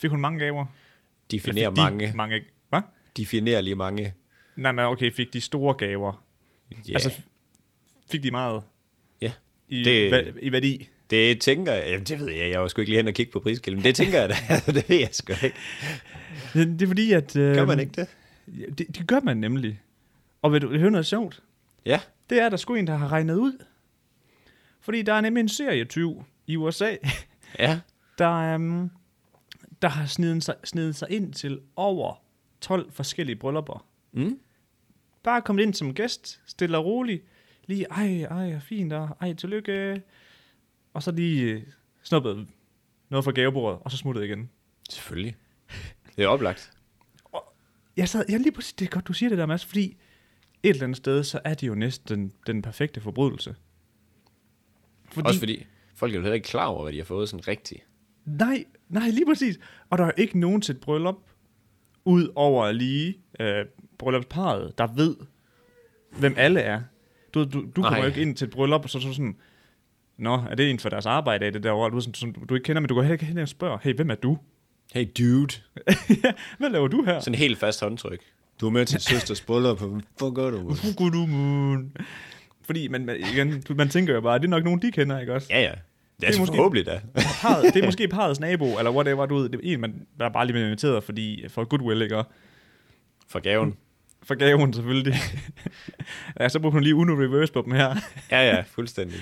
[SPEAKER 2] Fik hun mange gaver? Eller
[SPEAKER 1] Definerer
[SPEAKER 2] fik de
[SPEAKER 1] mange.
[SPEAKER 2] mange. Hvad?
[SPEAKER 1] Definerer lige mange.
[SPEAKER 2] Nej, men okay, fik de store gaver?
[SPEAKER 1] Ja,
[SPEAKER 2] Altså, fik de meget
[SPEAKER 1] ja.
[SPEAKER 2] i,
[SPEAKER 1] Det-
[SPEAKER 2] det... va- i værdi?
[SPEAKER 1] det tænker jeg. Jamen, det ved jeg. Jeg var sgu ikke lige hen og kigge på priskilden. Det tænker jeg da. Altså, det ved jeg sgu ikke.
[SPEAKER 2] Det, det er fordi, at... Øh,
[SPEAKER 1] Gør man ikke det?
[SPEAKER 2] Ja, det, det gør man nemlig. Og vil du vil du høre noget sjovt?
[SPEAKER 1] Ja.
[SPEAKER 2] Det er, at der sgu en, der har regnet ud. Fordi der er nemlig en serietyv i USA,
[SPEAKER 1] Ja.
[SPEAKER 2] der, um, der har snedet sig, snedet sig ind til over 12 forskellige bryllupper.
[SPEAKER 1] Mm.
[SPEAKER 2] Bare kommet ind som gæst, stille og roligt. Lige, ej, ej, fint, og ej, tillykke. Og så lige øh, snuppet noget fra gavebordet, og så smuttet igen.
[SPEAKER 1] Selvfølgelig. Det er oplagt.
[SPEAKER 2] Jeg sad, jeg lige præcis, det er godt, du siger det der, Mads, fordi et eller andet sted, så er det jo næsten den, den perfekte forbrydelse.
[SPEAKER 1] Fordi... Også fordi folk er jo heller ikke klar over, hvad de har fået sådan rigtigt.
[SPEAKER 2] Nej, nej, lige præcis. Og der er jo ikke nogen til et bryllup, ud over lige øh, bryllupsparet, der ved, hvem alle er. Du, du, du kommer
[SPEAKER 1] Nej.
[SPEAKER 2] jo ikke ind til et bryllup, og så, så sådan, Nå, er det en for deres arbejde af det derovre? Du, er sådan, sådan, du ikke kender, men du går heller ikke hen og spørger, hey, hvem er du?
[SPEAKER 1] Hey dude.
[SPEAKER 2] ja, hvad laver du her?
[SPEAKER 1] Sådan helt fast håndtryk. Du er med til søsters bryllup. Hvor gør du?
[SPEAKER 2] Gudumun. Fordi man, man, igen, du- man tænker jo bare, det er nok nogen, de kender, ikke også?
[SPEAKER 1] Ja, ja. Det er, det
[SPEAKER 2] Det
[SPEAKER 1] er
[SPEAKER 2] er måske-
[SPEAKER 1] forhåbentlig da.
[SPEAKER 2] Parret, det er måske parrets nabo, eller whatever, du ved. Det er en, man, der er bare lige blevet inviteret, fordi for goodwill, ikke? Og
[SPEAKER 1] For gaven.
[SPEAKER 2] for gaven selvfølgelig. ja, så brugte hun lige Uno Reverse på dem her.
[SPEAKER 1] Ja, ja, fuldstændig.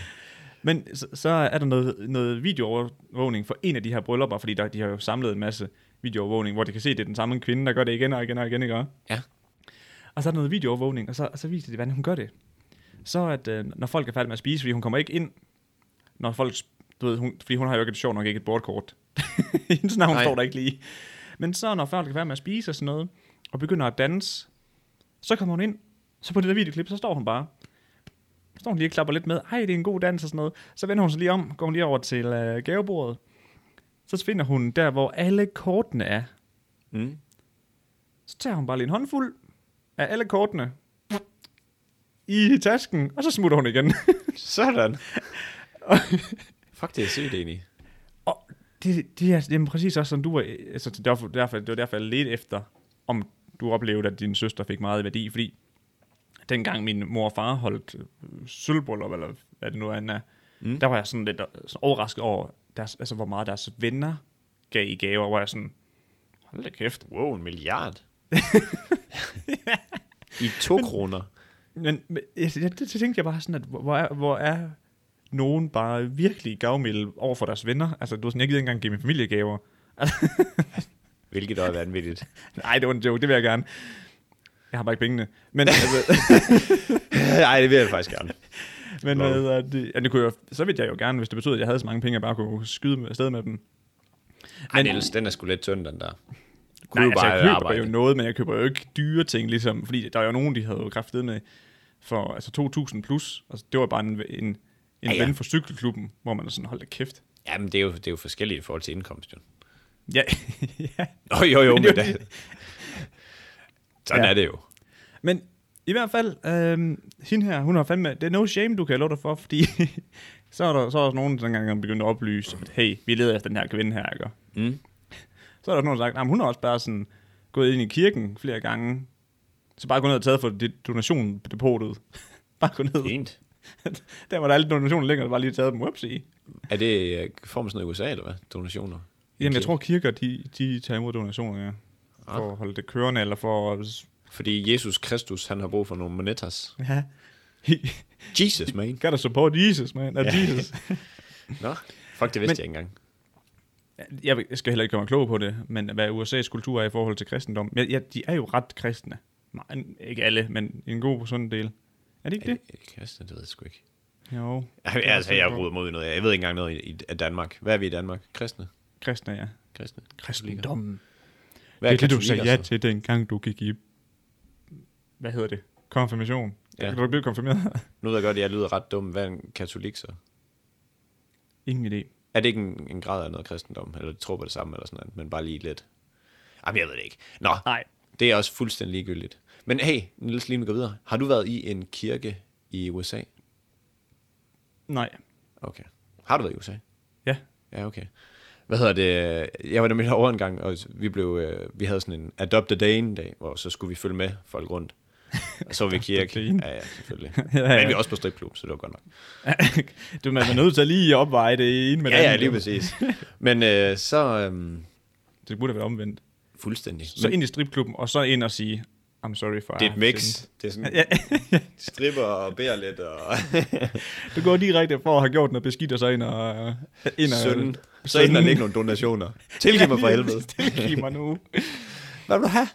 [SPEAKER 2] Men så, så er der noget, noget videoovervågning for en af de her bryllupper, fordi der, de har jo samlet en masse videoovervågning, hvor de kan se, at det er den samme kvinde, der gør det igen og igen og igen, ikke?
[SPEAKER 1] Ja.
[SPEAKER 2] Og så er der noget videoovervågning, og så, og så viser de, hvordan hun gør det. Så at, øh, når folk er færdige med at spise, fordi hun kommer ikke ind, når folk, du ved, hun, fordi hun har jo ikke et sjovt nok ikke et bordkort. Hendes navn
[SPEAKER 1] Nej.
[SPEAKER 2] står der ikke lige. i. Men så når folk er færdige med at spise og sådan noget, og begynder at danse, så kommer hun ind, så på det der videoklip, så står hun bare. Så står hun lige og klapper lidt med, ej, det er en god dans og sådan noget. Så vender hun sig lige om, går hun lige over til øh, gavebordet. Så finder hun der, hvor alle kortene er.
[SPEAKER 1] Mm.
[SPEAKER 2] Så tager hun bare lige en håndfuld af alle kortene i tasken, og så smutter hun igen.
[SPEAKER 1] Sådan. Fuck, det er sygt egentlig.
[SPEAKER 2] Og det, det, er, det er præcis også sådan, du var, altså, det, var derfor, det var derfor, jeg ledte efter, om du oplevede, at din søster fik meget værdi, fordi dengang min mor og far holdt øh, sølvbryllup, eller hvad det nu end er, mm. der var jeg sådan lidt øh, sådan overrasket over, deres, altså, hvor meget deres venner gav i gaver, hvor jeg sådan, hold da kæft.
[SPEAKER 1] Wow, en milliard. I to kroner.
[SPEAKER 2] Men, men altså, det, det, tænkte jeg bare sådan, at hvor- hvor er, hvor er nogen bare virkelig gavmilde over for deres venner? Altså, du ved sådan, jeg gider ikke engang give min familie gaver.
[SPEAKER 1] Hvilket også er vanvittigt.
[SPEAKER 2] Nej, det var en joke, det vil jeg gerne. Jeg har bare ikke pengene. Men, altså,
[SPEAKER 1] Nej, det vil jeg faktisk gerne.
[SPEAKER 2] men
[SPEAKER 1] Lol.
[SPEAKER 2] hvad hedder det, ja, det kunne jeg, så ville jeg jo gerne, hvis det betød, at jeg havde så mange penge, at jeg bare kunne skyde med, afsted med dem.
[SPEAKER 1] Ej, Niels, den er sgu lidt tynd, den der. Du kunne
[SPEAKER 2] Nej,
[SPEAKER 1] jo
[SPEAKER 2] altså, jeg
[SPEAKER 1] bare
[SPEAKER 2] køber
[SPEAKER 1] arbejde.
[SPEAKER 2] jo noget, men jeg køber jo ikke dyre ting, ligesom, fordi der er jo nogen, de havde jo kraftet med for altså 2.000 plus. Altså, det var bare en, en, en ja,
[SPEAKER 1] ja.
[SPEAKER 2] ja. ven fra cykelklubben, hvor man er sådan, hold da kæft.
[SPEAKER 1] Jamen, det er, jo, det er jo forskelligt i forhold til indkomst, jo.
[SPEAKER 2] Ja, ja.
[SPEAKER 1] Nå, jo, jo, men
[SPEAKER 2] det er
[SPEAKER 1] da,
[SPEAKER 2] jo
[SPEAKER 1] sådan
[SPEAKER 2] Ja.
[SPEAKER 1] er det jo.
[SPEAKER 2] Men i hvert fald, øh, hende her, hun har fandme, det er no shame, du kan love dig for, fordi så er der så er der også nogen, der engang begyndt at oplyse, at hey, vi leder efter den her kvinde her, ikke?
[SPEAKER 1] Mm.
[SPEAKER 2] Så er der også nogen, der har sagt, "Jamen, hun har også bare sådan gået ind i kirken flere gange, så bare gå ned og taget for det donationdepotet. bare gå ned.
[SPEAKER 1] Fint.
[SPEAKER 2] der var der alle donationer længere, bare lige taget dem, whoopsie.
[SPEAKER 1] Er det øh, får man sådan noget i USA, eller hvad? Donationer?
[SPEAKER 2] Jamen, jeg
[SPEAKER 1] Okay.
[SPEAKER 2] tror, kirker, de, de tager imod donationer, ja. For at holde det kørende, eller for at...
[SPEAKER 1] Fordi Jesus Kristus, han har brug for nogle monetas.
[SPEAKER 2] Ja.
[SPEAKER 1] Jesus, man.
[SPEAKER 2] Gotta support Jesus, man. Ja. Jesus.
[SPEAKER 1] Nå, fuck, det vidste men, jeg ikke engang.
[SPEAKER 2] Jeg vil- jeg skal heller ikke gøre mig klog på det, men hvad USA's kultur er i forhold til kristendom. Ja, ja de er jo ret kristne. Nej, ikke alle, men en god sådan del. Er det ikke
[SPEAKER 1] Er
[SPEAKER 2] det?
[SPEAKER 1] det, er det kristne? Det ved jeg sgu ikke.
[SPEAKER 2] Jo,
[SPEAKER 1] Altså, jeg er rodet mod noget. Jeg ved ikke engang noget i, i af Danmark. Hvad er vi i Danmark? Kristne?
[SPEAKER 2] kristne, ja.
[SPEAKER 1] Kristne?
[SPEAKER 2] Kristendommen.
[SPEAKER 1] Hvad altså?
[SPEAKER 2] Det er det, du
[SPEAKER 1] katolikker
[SPEAKER 2] sagde ja
[SPEAKER 1] så?
[SPEAKER 2] til, dengang du gik i... Hvad hedder det? Konfirmation.
[SPEAKER 1] Ja.
[SPEAKER 2] Ja. Kan du ikke blive konfirmeret?
[SPEAKER 1] Nu ved jeg godt, at jeg lyder ret dum. Hvad er en katolik så?
[SPEAKER 2] Ingen idé.
[SPEAKER 1] Er det ikke en, en grad af noget kristendom? Eller tror på det samme eller sådan noget, men bare lige lidt. Jamen, jeg ved det ikke. Nå,
[SPEAKER 2] Nej.
[SPEAKER 1] det er også fuldstændig ligegyldigt. Men hey, Niels, lige nu går videre. Har du været i en kirke i USA?
[SPEAKER 2] Nej.
[SPEAKER 1] Okay. Har du været i USA?
[SPEAKER 2] Ja.
[SPEAKER 1] Ja, okay. Hvad hedder det? Jeg var nemlig herovre en gang, og vi, blev, øh, vi havde sådan en Adopt a Dane-dag, hvor så skulle vi følge med folk rundt. Og så var vi i kirke.
[SPEAKER 2] Dane.
[SPEAKER 1] Ja, ja, selvfølgelig.
[SPEAKER 2] Ja, ja.
[SPEAKER 1] Men vi var også på stripklub, så det var godt nok.
[SPEAKER 2] du man er nødt til at lige opveje det ene med
[SPEAKER 1] Ja,
[SPEAKER 2] det
[SPEAKER 1] ja,
[SPEAKER 2] andet.
[SPEAKER 1] lige præcis. Men øh, så... Øh,
[SPEAKER 2] Det burde have været omvendt.
[SPEAKER 1] fuldstændig.
[SPEAKER 2] Så ind Ah, i stripklubben, og så ind og sige, I'm sorry for...
[SPEAKER 1] Det er
[SPEAKER 2] I
[SPEAKER 1] et
[SPEAKER 2] have
[SPEAKER 1] mix.
[SPEAKER 2] sinned."
[SPEAKER 1] Det er sådan, stripper og bærer lidt, og
[SPEAKER 2] Du går direkte for at have gjort noget beskidt, og så ind og... øh, Ind og
[SPEAKER 1] søn. Så ender der ikke nogen donationer. Tilgiv mig for helvede.
[SPEAKER 2] Tilgiv mig nu.
[SPEAKER 1] Hvad vil du have?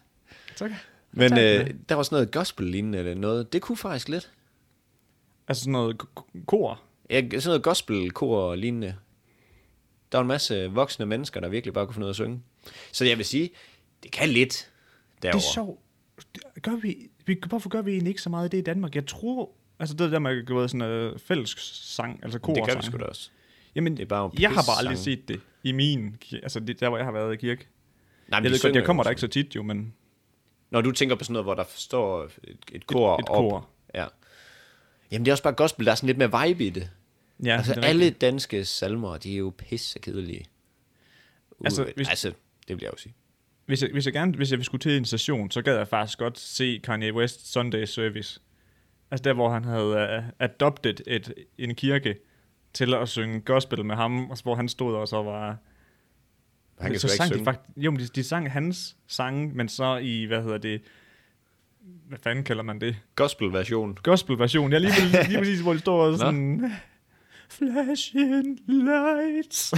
[SPEAKER 2] Tak.
[SPEAKER 1] Men
[SPEAKER 2] Tak,
[SPEAKER 1] øh, der var sådan noget gospel-lignende eller noget. Det kunne faktisk lidt.
[SPEAKER 2] Altså sådan noget k- k- kor.
[SPEAKER 1] Ja, sådan noget gospelkor og lignende. Der var en masse voksne mennesker, der virkelig bare kunne finde ud af at synge. Så jeg vil sige, det kan lidt
[SPEAKER 2] Det
[SPEAKER 1] derovre.
[SPEAKER 2] er sjovt. Gør vi, vi, hvorfor gør vi egentlig ikke så meget af det i Danmark? Jeg tror, altså det der med du ved, sådan noget fælles sang, altså kor
[SPEAKER 1] det kan vi sgu da også.
[SPEAKER 2] Jamen,
[SPEAKER 1] Det er bare
[SPEAKER 2] jeg har bare aldrig
[SPEAKER 1] pissange.
[SPEAKER 2] set det i min, ki- altså det, der hvor jeg har været i kirke.
[SPEAKER 1] Nej, men
[SPEAKER 2] jeg
[SPEAKER 1] de
[SPEAKER 2] ved godt,
[SPEAKER 1] synger
[SPEAKER 2] jeg
[SPEAKER 1] jo
[SPEAKER 2] kommer der
[SPEAKER 1] også.
[SPEAKER 2] ikke så tit jo, men
[SPEAKER 1] Når du tænker på sådan noget, hvor der står et, et kor
[SPEAKER 2] et
[SPEAKER 1] op.
[SPEAKER 2] kor.
[SPEAKER 1] Ja. Jamen det er også bare gospel, der er sådan lidt mere vibe i det.
[SPEAKER 2] ja,
[SPEAKER 1] altså
[SPEAKER 2] det er
[SPEAKER 1] alle
[SPEAKER 2] rigtigt.
[SPEAKER 1] danske salmer, de er jo pisse kedelige. Uh, altså,
[SPEAKER 2] Altså,
[SPEAKER 1] hvis...
[SPEAKER 2] hvis-
[SPEAKER 1] altså, det vil jeg jo sige.
[SPEAKER 2] Hvis jeg, hvis jeg gerne, hvis jeg skulle til en station, så gad jeg faktisk godt se Kanye West Sunday Service. Altså der, hvor han havde uh, adopted et, en kirke til at synge gospel med ham, og så hvor han stod og så var...
[SPEAKER 1] Han kan
[SPEAKER 2] Altså,
[SPEAKER 1] sgu
[SPEAKER 2] så
[SPEAKER 1] ikke
[SPEAKER 2] sang
[SPEAKER 1] synge.
[SPEAKER 2] de faktisk, jo, men de, de sang hans sange, men så i, hvad hedder det, hvad fanden kalder man det?
[SPEAKER 1] Gospel-version.
[SPEAKER 2] Gospel-version. Jeg lige, præcis- lige præcis, hvor de står og sådan, flashing lights.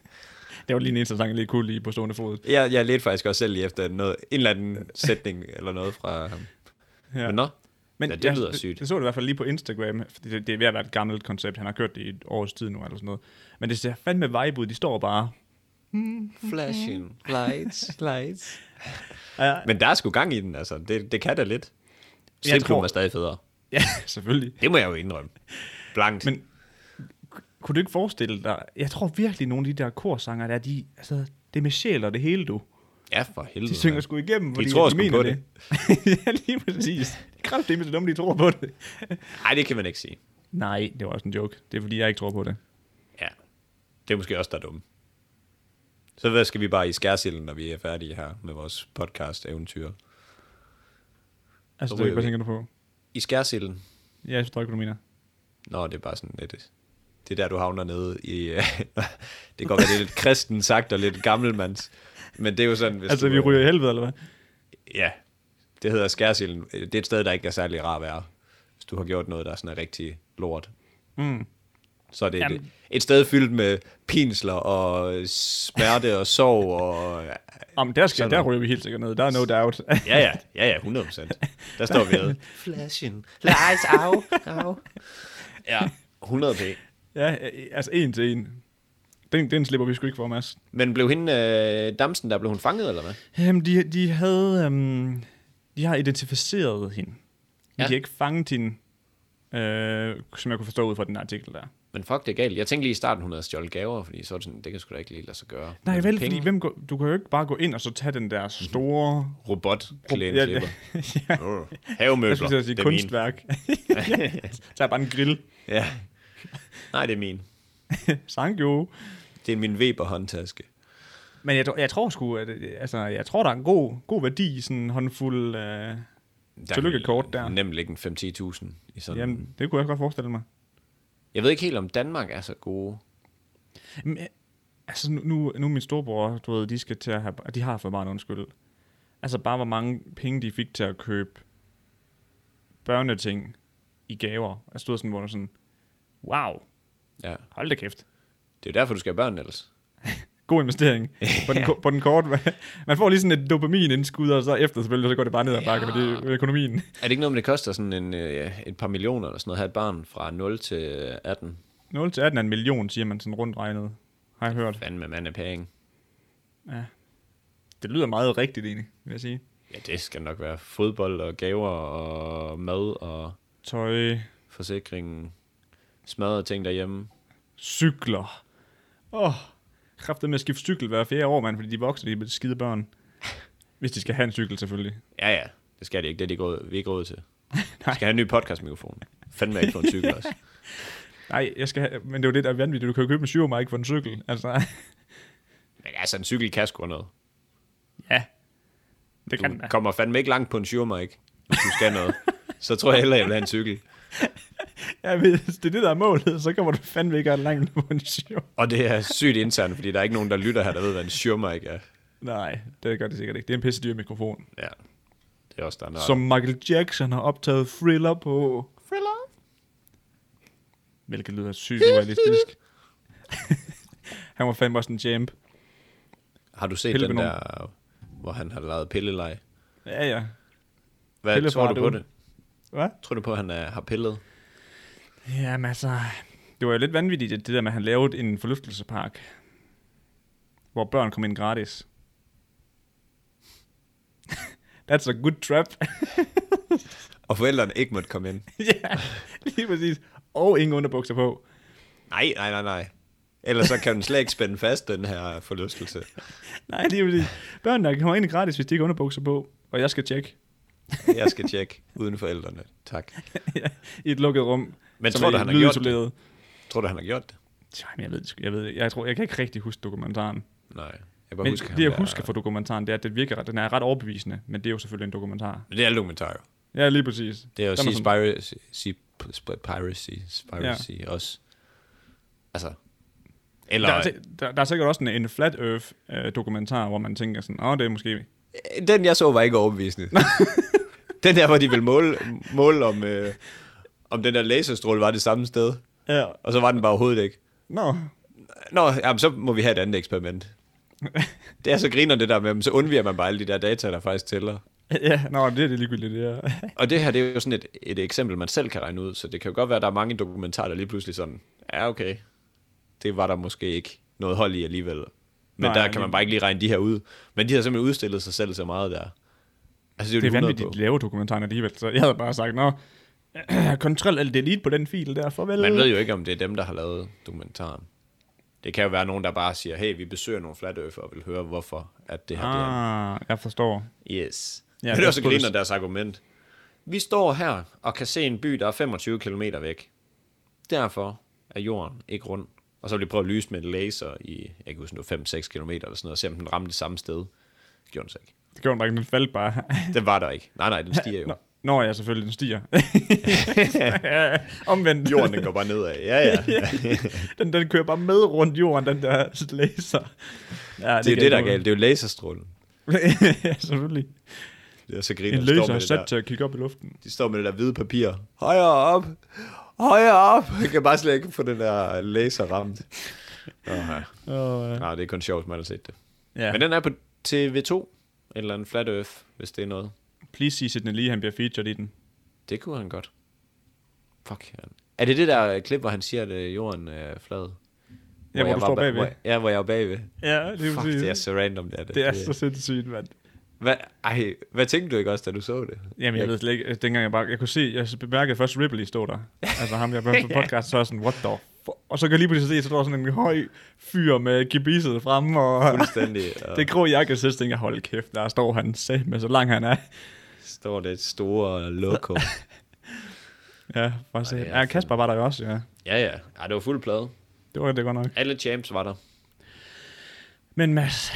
[SPEAKER 2] det var lige en eneste sang, jeg lige kunne lige på stående fod.
[SPEAKER 1] Jeg, jeg ledte faktisk også selv lige efter noget, en eller anden sætning eller noget fra ham. Ja. Men nå, men ja, det
[SPEAKER 2] jeg-
[SPEAKER 1] lyder sygt.
[SPEAKER 2] Jeg så det i hvert fald lige på Instagram, for det, det er ved at være et gammelt koncept. Han har kørt det i et års tid nu, eller sådan noget. Men det ser fandme vibe ud. De står bare...
[SPEAKER 1] Flashing lights, lights.
[SPEAKER 2] Ja,
[SPEAKER 1] Men der er sgu gang i den, altså. Det, det kan da lidt.
[SPEAKER 2] Jeg
[SPEAKER 1] Stripklubben
[SPEAKER 2] tror-
[SPEAKER 1] er stadig federe.
[SPEAKER 2] ja selvfølgelig.
[SPEAKER 1] Det må jeg jo indrømme. Blankt. Men...
[SPEAKER 2] Men kunne du ikke forestille dig... Jeg tror virkelig, nogle af de der korsanger, der, de, altså, det er med sjæl og det hele, du.
[SPEAKER 1] Ja, for helvede.
[SPEAKER 2] De synger
[SPEAKER 1] mand.
[SPEAKER 2] sgu igennem, fordi
[SPEAKER 1] tror
[SPEAKER 2] de
[SPEAKER 1] sgu
[SPEAKER 2] mener
[SPEAKER 1] på
[SPEAKER 2] det. ja, lige præcis. Kræft, det er dumme, de tror på det.
[SPEAKER 1] Nej, det kan man ikke sige.
[SPEAKER 2] Nej, det var også en joke. Det er, fordi jeg ikke tror på det.
[SPEAKER 1] Ja. Det er måske også der er dumme. Så hvad skal vi bare i skærsilden, når vi er færdige her med vores podcast-eventyr?
[SPEAKER 2] Altså,
[SPEAKER 1] Så
[SPEAKER 2] det, hvad
[SPEAKER 1] ryger vi.
[SPEAKER 2] tænker du på?
[SPEAKER 1] I skærsilden?
[SPEAKER 2] Ja, jeg forstår ikke, hvad du mener.
[SPEAKER 1] Nå, det er bare sådan lidt... Det er der, du havner nede i... øh, det kan godt være, det er lidt kristen sagt og lidt gammelmands. Men det er jo sådan, hvis
[SPEAKER 2] Altså,
[SPEAKER 1] du,
[SPEAKER 2] vi
[SPEAKER 1] øh,
[SPEAKER 2] ryger i helvede, eller hvad?
[SPEAKER 1] Ja, det hedder skærsilden. Det er et sted, der ikke er særlig rar at være, hvis du har gjort noget, der er sådan er rigtig lort.
[SPEAKER 2] Mm.
[SPEAKER 1] Så er det et,
[SPEAKER 2] Jamen.
[SPEAKER 1] et sted fyldt med pinsler og smerte og sorg og...
[SPEAKER 2] Jamen, der, skal,
[SPEAKER 1] Sådan
[SPEAKER 2] Altså, der
[SPEAKER 1] noget.
[SPEAKER 2] ryger vi helt sikkert ned. Der er no doubt.
[SPEAKER 1] Ja, ja, ja, ja, 100 procent. Der står vi nede.
[SPEAKER 4] Flashing lights out. out.
[SPEAKER 1] Ja, 100 p.
[SPEAKER 2] ja, altså en til en. Den, den slipper vi sgu ikke for, Mads.
[SPEAKER 1] Men blev hende, øh, damsen der, blev hun fanget, eller hvad?
[SPEAKER 2] Jamen, de, de havde... Øhm, de har identificeret hende. Men
[SPEAKER 1] Ja.
[SPEAKER 2] ja. de har ikke fanget hende, øh, som jeg kunne forstå ud fra den artikel der.
[SPEAKER 1] Men fuck, det er galt. Jeg tænkte lige i starten, hun havde stjålet gaver, fordi så var det sådan, det kan sgu da ikke lige lade sig gøre.
[SPEAKER 2] Nej,
[SPEAKER 1] Men penge-
[SPEAKER 2] vel, fordi Altså, Mhm. hvem går, du kan jo ikke bare gå ind og så tage den der store...
[SPEAKER 1] Robot,
[SPEAKER 2] Ja,
[SPEAKER 1] klæden,
[SPEAKER 2] ja, jeg
[SPEAKER 1] Havemøbler,
[SPEAKER 2] skulle til at sige
[SPEAKER 1] det er min.
[SPEAKER 2] kunstværk. Så er bare en grill.
[SPEAKER 1] Ja. Nej, det er min.
[SPEAKER 2] Sankjo.
[SPEAKER 1] Det er min Weber håndtaske.
[SPEAKER 2] Men jeg, tror- jeg tror sgu, at øh, altså, jeg tror, der er en god, god værdi i sådan en håndfuld... Øh,
[SPEAKER 1] Der
[SPEAKER 2] Tillykke
[SPEAKER 1] kan
[SPEAKER 2] kort der.
[SPEAKER 1] Nemt ligge en 5-10.000 i sådan. Jamen.
[SPEAKER 2] jamen, det kunne jeg godt forestille mig.
[SPEAKER 1] Jeg ved ikke helt, om Danmark er så gode.
[SPEAKER 2] Men, øh, altså, nu, nu, nu er min storebror, du ved, de skal til at have... De har fået meget undskyld. Altså, bare hvor mange penge, de fik til at købe børneting i gaver. Jeg stod sådan, hvor der sådan... Wow,
[SPEAKER 1] Ja.
[SPEAKER 2] hold da kæft.
[SPEAKER 1] Det er jo derfor, du skal have børn, ellers.
[SPEAKER 2] god investering på den, ko- på den korte. vej. Man får lige sådan et dopaminindskud, og så efter selvfølgelig, så går det bare ned ad bakke, fordi økonomien...
[SPEAKER 1] Er det ikke noget, om det koster sådan en, øh, ja, et par millioner eller sådan noget at have et barn fra 0 til 18?
[SPEAKER 2] 0 til 18 er en million, siger man sådan rundt regnet, har jeg hørt.
[SPEAKER 1] Fanden med mand er penge.
[SPEAKER 2] Det lyder meget rigtigt egentlig, vil jeg sige.
[SPEAKER 1] Ja, det skal nok være fodbold og gaver og mad og
[SPEAKER 2] Tøj,
[SPEAKER 1] forsikring, smadrede ting derhjemme.
[SPEAKER 2] cykler. Åh, oh, kræftet med at skifte cykel hver fjerde år, mand, fordi de voksne, de er skide børn. Hvis de skal have en cykel, selvfølgelig.
[SPEAKER 1] Ja, ja, det skal det ikke. Det er de ikke råd, vi er ikke råd til.
[SPEAKER 2] Nej.
[SPEAKER 1] Vi skal have en ny podcast-mikrofon. Fandme ikke på en cykel også.
[SPEAKER 2] Nej, jeg skal have, men det er jo det, der er vanvittigt. Du kan jo købe en syvmark for en cykel. Altså,
[SPEAKER 1] Men altså, en cykel kan sgu noget.
[SPEAKER 2] ja. Det kan den
[SPEAKER 1] Du
[SPEAKER 2] da.
[SPEAKER 1] kommer fandme ikke langt på en Schurmark, hvis du skal noget. Så tror jeg hellere, jeg vil have en cykel.
[SPEAKER 2] Ja, hvis det er det, der er målet, så kommer du fandme ikke ret langt på en syv.
[SPEAKER 1] Og det er sygt internt, fordi der er ikke nogen, der lytter her, der ved, hvad en Schurmark er.
[SPEAKER 2] Nej, det gør det sikkert ikke. Det er en pisse dyr mikrofon.
[SPEAKER 1] Ja, det er også standard.
[SPEAKER 2] Som Michael Jackson har optaget Thriller på.
[SPEAKER 4] Thriller.
[SPEAKER 2] Hvilket lyder sygt urealistisk. han var fandme også en champ.
[SPEAKER 1] Har du set den
[SPEAKER 2] Pillebanon.
[SPEAKER 1] der, hvor han har lavet pillelej?
[SPEAKER 2] Ja, ja.
[SPEAKER 1] Hvad
[SPEAKER 2] Pillefar,
[SPEAKER 1] tror du på
[SPEAKER 2] du.
[SPEAKER 1] det?
[SPEAKER 2] Hvad?
[SPEAKER 1] Tror du på, at han er, har pillet?
[SPEAKER 2] Jamen altså, det var jo lidt vanvittigt, det der med, at han lavede en forlystelsespark. Hvor børn kom ind gratis. That's a good trap.
[SPEAKER 1] Og forældrene ikke måtte komme ind?
[SPEAKER 2] ja, lige præcis. Og ingen underbukser på.
[SPEAKER 1] Nej, nej, nej, nej. Ellers så kan den slet ikke spænde fast, den her forlystelse.
[SPEAKER 2] Nej, det er jo det. Børn, der kommer ind gratis, hvis de ikke har underbukser på, og jeg skal tjekke
[SPEAKER 1] Jeg skal tjekke uden forældrene. Tak.
[SPEAKER 2] i et lukket rum.
[SPEAKER 1] Men
[SPEAKER 2] som
[SPEAKER 1] tror
[SPEAKER 2] er
[SPEAKER 1] du, han har
[SPEAKER 2] lydisoleret.
[SPEAKER 1] Tror du, han har gjort det?
[SPEAKER 2] Jamen, jeg ved, det sgu- jeg ved, det. jeg tror, jeg kan ikke rigtig huske dokumentaren.
[SPEAKER 1] Nej. Jeg kan bare
[SPEAKER 2] Men
[SPEAKER 1] husker,
[SPEAKER 2] det, jeg husker fra dokumentaren, det er, at det virker, ret- den er ret overbevisende, men det er jo selvfølgelig en dokumentar.
[SPEAKER 1] Det er en dokumentar, jo.
[SPEAKER 2] Ja, lige præcis.
[SPEAKER 1] Det er jo
[SPEAKER 2] Der man
[SPEAKER 1] sige
[SPEAKER 2] sådan,
[SPEAKER 1] piracy, sige p- sp- piracy, piracy ja. også. Altså, eller
[SPEAKER 2] der, er, si- der, der er sikkert også en, en flat earth øh, dokumentar, hvor man tænker sådan, åh, det er måske...
[SPEAKER 1] den jeg så var ikke overbevisende. den der, hvor de ville måle, måle om, øh, om den der laserstråle var det samme sted,
[SPEAKER 2] Ja.
[SPEAKER 1] og så var den bare overhovedet ikke.
[SPEAKER 2] Nå,
[SPEAKER 1] Nå, jamen, så må vi have et andet eksperiment. Det er så griner det der med, men så undviger man bare alle de der data, der faktisk tæller.
[SPEAKER 2] ja, nå, det er det ligegyldigt, det er.
[SPEAKER 1] Og det her, det er jo sådan et, et eksempel, man selv kan regne ud, så det kan jo godt være, at der er mange dokumentarer, der lige pludselig sådan, ja okay, det var der måske ikke noget hold i alligevel. Men
[SPEAKER 2] Nej,
[SPEAKER 1] Nej, der
[SPEAKER 2] lige-
[SPEAKER 1] kan man bare ikke lige regne de her ud. Men de har simpelthen udstillet sig selv så meget der. Altså, det er
[SPEAKER 2] Det
[SPEAKER 1] jo
[SPEAKER 2] er
[SPEAKER 1] de 100
[SPEAKER 2] vanvittigt,
[SPEAKER 1] på.
[SPEAKER 2] at de laver dokumentaren alligevel, så jeg havde bare sagt, nå, Ctrl alt delete på den fil der, farvel.
[SPEAKER 1] Man ved jo ikke, om det er dem, der har lavet dokumentaren. Det kan jo være nogen, der bare siger, hey, vi besøger nogle flat earther og vil høre, hvorfor at det her ah. bliver.
[SPEAKER 2] Ah, jeg forstår.
[SPEAKER 1] Yes.
[SPEAKER 2] Ja,
[SPEAKER 1] Ja, Men det
[SPEAKER 2] det
[SPEAKER 1] er også
[SPEAKER 2] skulle du-
[SPEAKER 1] griner deres argument. Vi står her og kan se en by, der er 25 km væk. Derfor er jorden ikke rund. Og så ville de prøve at lyse med en laser i, jeg kan huske, det var 5-6 km eller sådan noget, og se om den ramte det samme sted. Det gjorde den så ikke.
[SPEAKER 2] Det gjorde den bare ikke, den faldt bare.
[SPEAKER 1] Den var der ikke. Nej, nej, den stiger jo.
[SPEAKER 2] Nå, Nå ja, selvfølgelig, den stiger. Omvendt.
[SPEAKER 1] Jorden, den går bare nedad. Ja, ja. Det
[SPEAKER 2] den, den kører bare med rundt jorden, den der laser. Ja,
[SPEAKER 1] er jo det, der er galt. Det er jo laserstrålen.
[SPEAKER 2] ja, selvfølgelig.
[SPEAKER 1] Det er så
[SPEAKER 2] En
[SPEAKER 1] griner, de står
[SPEAKER 2] laser er
[SPEAKER 1] med det
[SPEAKER 2] sat
[SPEAKER 1] der.
[SPEAKER 2] til at kigge op i luften.
[SPEAKER 1] De står med det der hvide papir. Højere op! Højere op! Jeg kan bare slet ikke få den der laser ramt. Aha.
[SPEAKER 2] Og, øh,
[SPEAKER 1] Nej, det er kun sjovt, man har set det.
[SPEAKER 2] ja.
[SPEAKER 1] Ja. Men den er på TV2, eller en Flat Earth, hvis det er noget.
[SPEAKER 2] Please sig Sidney Lee, han bliver featured i den.
[SPEAKER 1] Det kunne han godt. Fuck, han. Er det det der klip, hvor han siger, at øh, jorden er flad?
[SPEAKER 2] Ja, hvor du
[SPEAKER 1] jeg
[SPEAKER 2] står
[SPEAKER 1] var,
[SPEAKER 2] bagved.
[SPEAKER 1] Hvor, ja, hvor jeg er bagved.
[SPEAKER 2] Ja, det er,
[SPEAKER 1] Fuck,
[SPEAKER 2] præcis.
[SPEAKER 1] det er så random, det er det.
[SPEAKER 2] det er så sindssygt, mand.
[SPEAKER 1] Hvad, ej, hvad tænkte du ikke også, da du så det?
[SPEAKER 2] Jamen, jeg ved slet ikke, dengang jeg bare, jeg kunne se, jeg bemærkede først Ripley stod der. Altså ham, jeg hørte på podcast, så er jeg sådan, what the fu-? Og så kan jeg lige pludselig se, så står sådan en høj fyr med gebisset frem, og
[SPEAKER 1] Fuldstændig. Og
[SPEAKER 2] det grå jakke, så tænkte jeg, hold kæft, der står han sat med, så lang han er.
[SPEAKER 1] står det store logo.
[SPEAKER 2] Ja, bare se.
[SPEAKER 1] Ej,
[SPEAKER 2] Ja, Kasper var der jo også, ja.
[SPEAKER 1] ja, ja. Ej, det var fuld plade.
[SPEAKER 2] Det var det godt nok.
[SPEAKER 1] Alle champs var der.
[SPEAKER 2] Men Mads,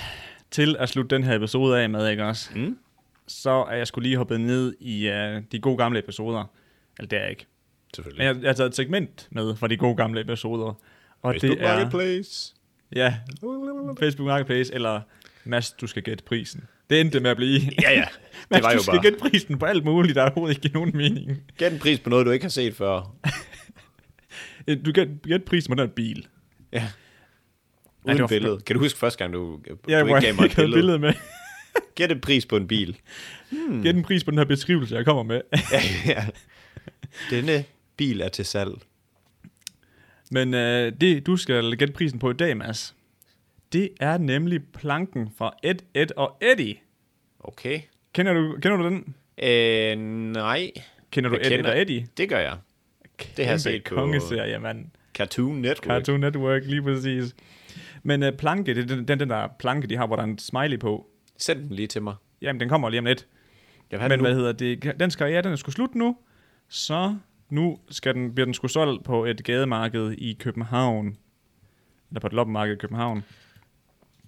[SPEAKER 2] til at slutte den her episode af med, ikke også?
[SPEAKER 1] Mm.
[SPEAKER 2] Så er jeg skulle lige hoppet ned i uh, de gode gamle episoder. Eller det er jeg ikke. Men
[SPEAKER 1] Selvfølgelig.
[SPEAKER 2] jeg, jeg har taget et segment med fra de gode gamle episoder. Og
[SPEAKER 3] Facebook
[SPEAKER 2] det er...
[SPEAKER 3] Marketplace.
[SPEAKER 2] Ja, Facebook Marketplace, eller Mads, du skal gætte prisen. Det endte med at blive...
[SPEAKER 1] Ja, ja.
[SPEAKER 2] Mads,
[SPEAKER 1] Det var
[SPEAKER 2] du
[SPEAKER 1] jo
[SPEAKER 2] skal
[SPEAKER 1] bare,
[SPEAKER 2] gætte prisen på alt muligt, der er overhovedet ikke nogen mening.
[SPEAKER 1] gæt en pris på noget, du ikke har set før.
[SPEAKER 2] Øh, Du gæt, gæt prisen på den her bil.
[SPEAKER 1] Ja.
[SPEAKER 2] det
[SPEAKER 1] Uden
[SPEAKER 2] var-
[SPEAKER 1] billede. Kan du huske første gang, du, du
[SPEAKER 2] Ja,
[SPEAKER 1] ikke
[SPEAKER 2] hvor
[SPEAKER 1] gav
[SPEAKER 2] jeg
[SPEAKER 1] mig et
[SPEAKER 2] ikke havde
[SPEAKER 1] billede? billede?
[SPEAKER 2] billede med.
[SPEAKER 1] Gæt en pris på en bil.
[SPEAKER 2] Gæt en pris på den her beskrivelse, jeg kommer med.
[SPEAKER 1] Hmm. ja, ja. Denne bil er til salg.
[SPEAKER 2] Men øh, det, du skal gætte prisen på i dag, Mads, det er nemlig planken fra Ed, Ed og Eddie.
[SPEAKER 1] Okay.
[SPEAKER 2] Kender du, kender du den?
[SPEAKER 1] Øh, nej.
[SPEAKER 2] Kender du
[SPEAKER 1] Jeg
[SPEAKER 2] Ed,
[SPEAKER 1] kender-
[SPEAKER 2] Ed og Eddie?
[SPEAKER 1] Det gør jeg. Det har jeg set på-
[SPEAKER 2] kongeserie, mand.
[SPEAKER 1] Cartoon Network.
[SPEAKER 2] Cartoon Network, lige præcis. Men øh, planke, det er den, den, den der planke, de har, hvor der er en smiley på.
[SPEAKER 1] Send den lige til mig.
[SPEAKER 2] Jamen, den kommer lige om lidt.
[SPEAKER 1] Jeg vil have den
[SPEAKER 2] Men
[SPEAKER 1] nu.
[SPEAKER 2] hvad hedder det? Den skal, ja, den er sgu slut nu. Så nu skal den, bliver den sgu solgt på et gademarked i København. Eller på et loppemarked i København.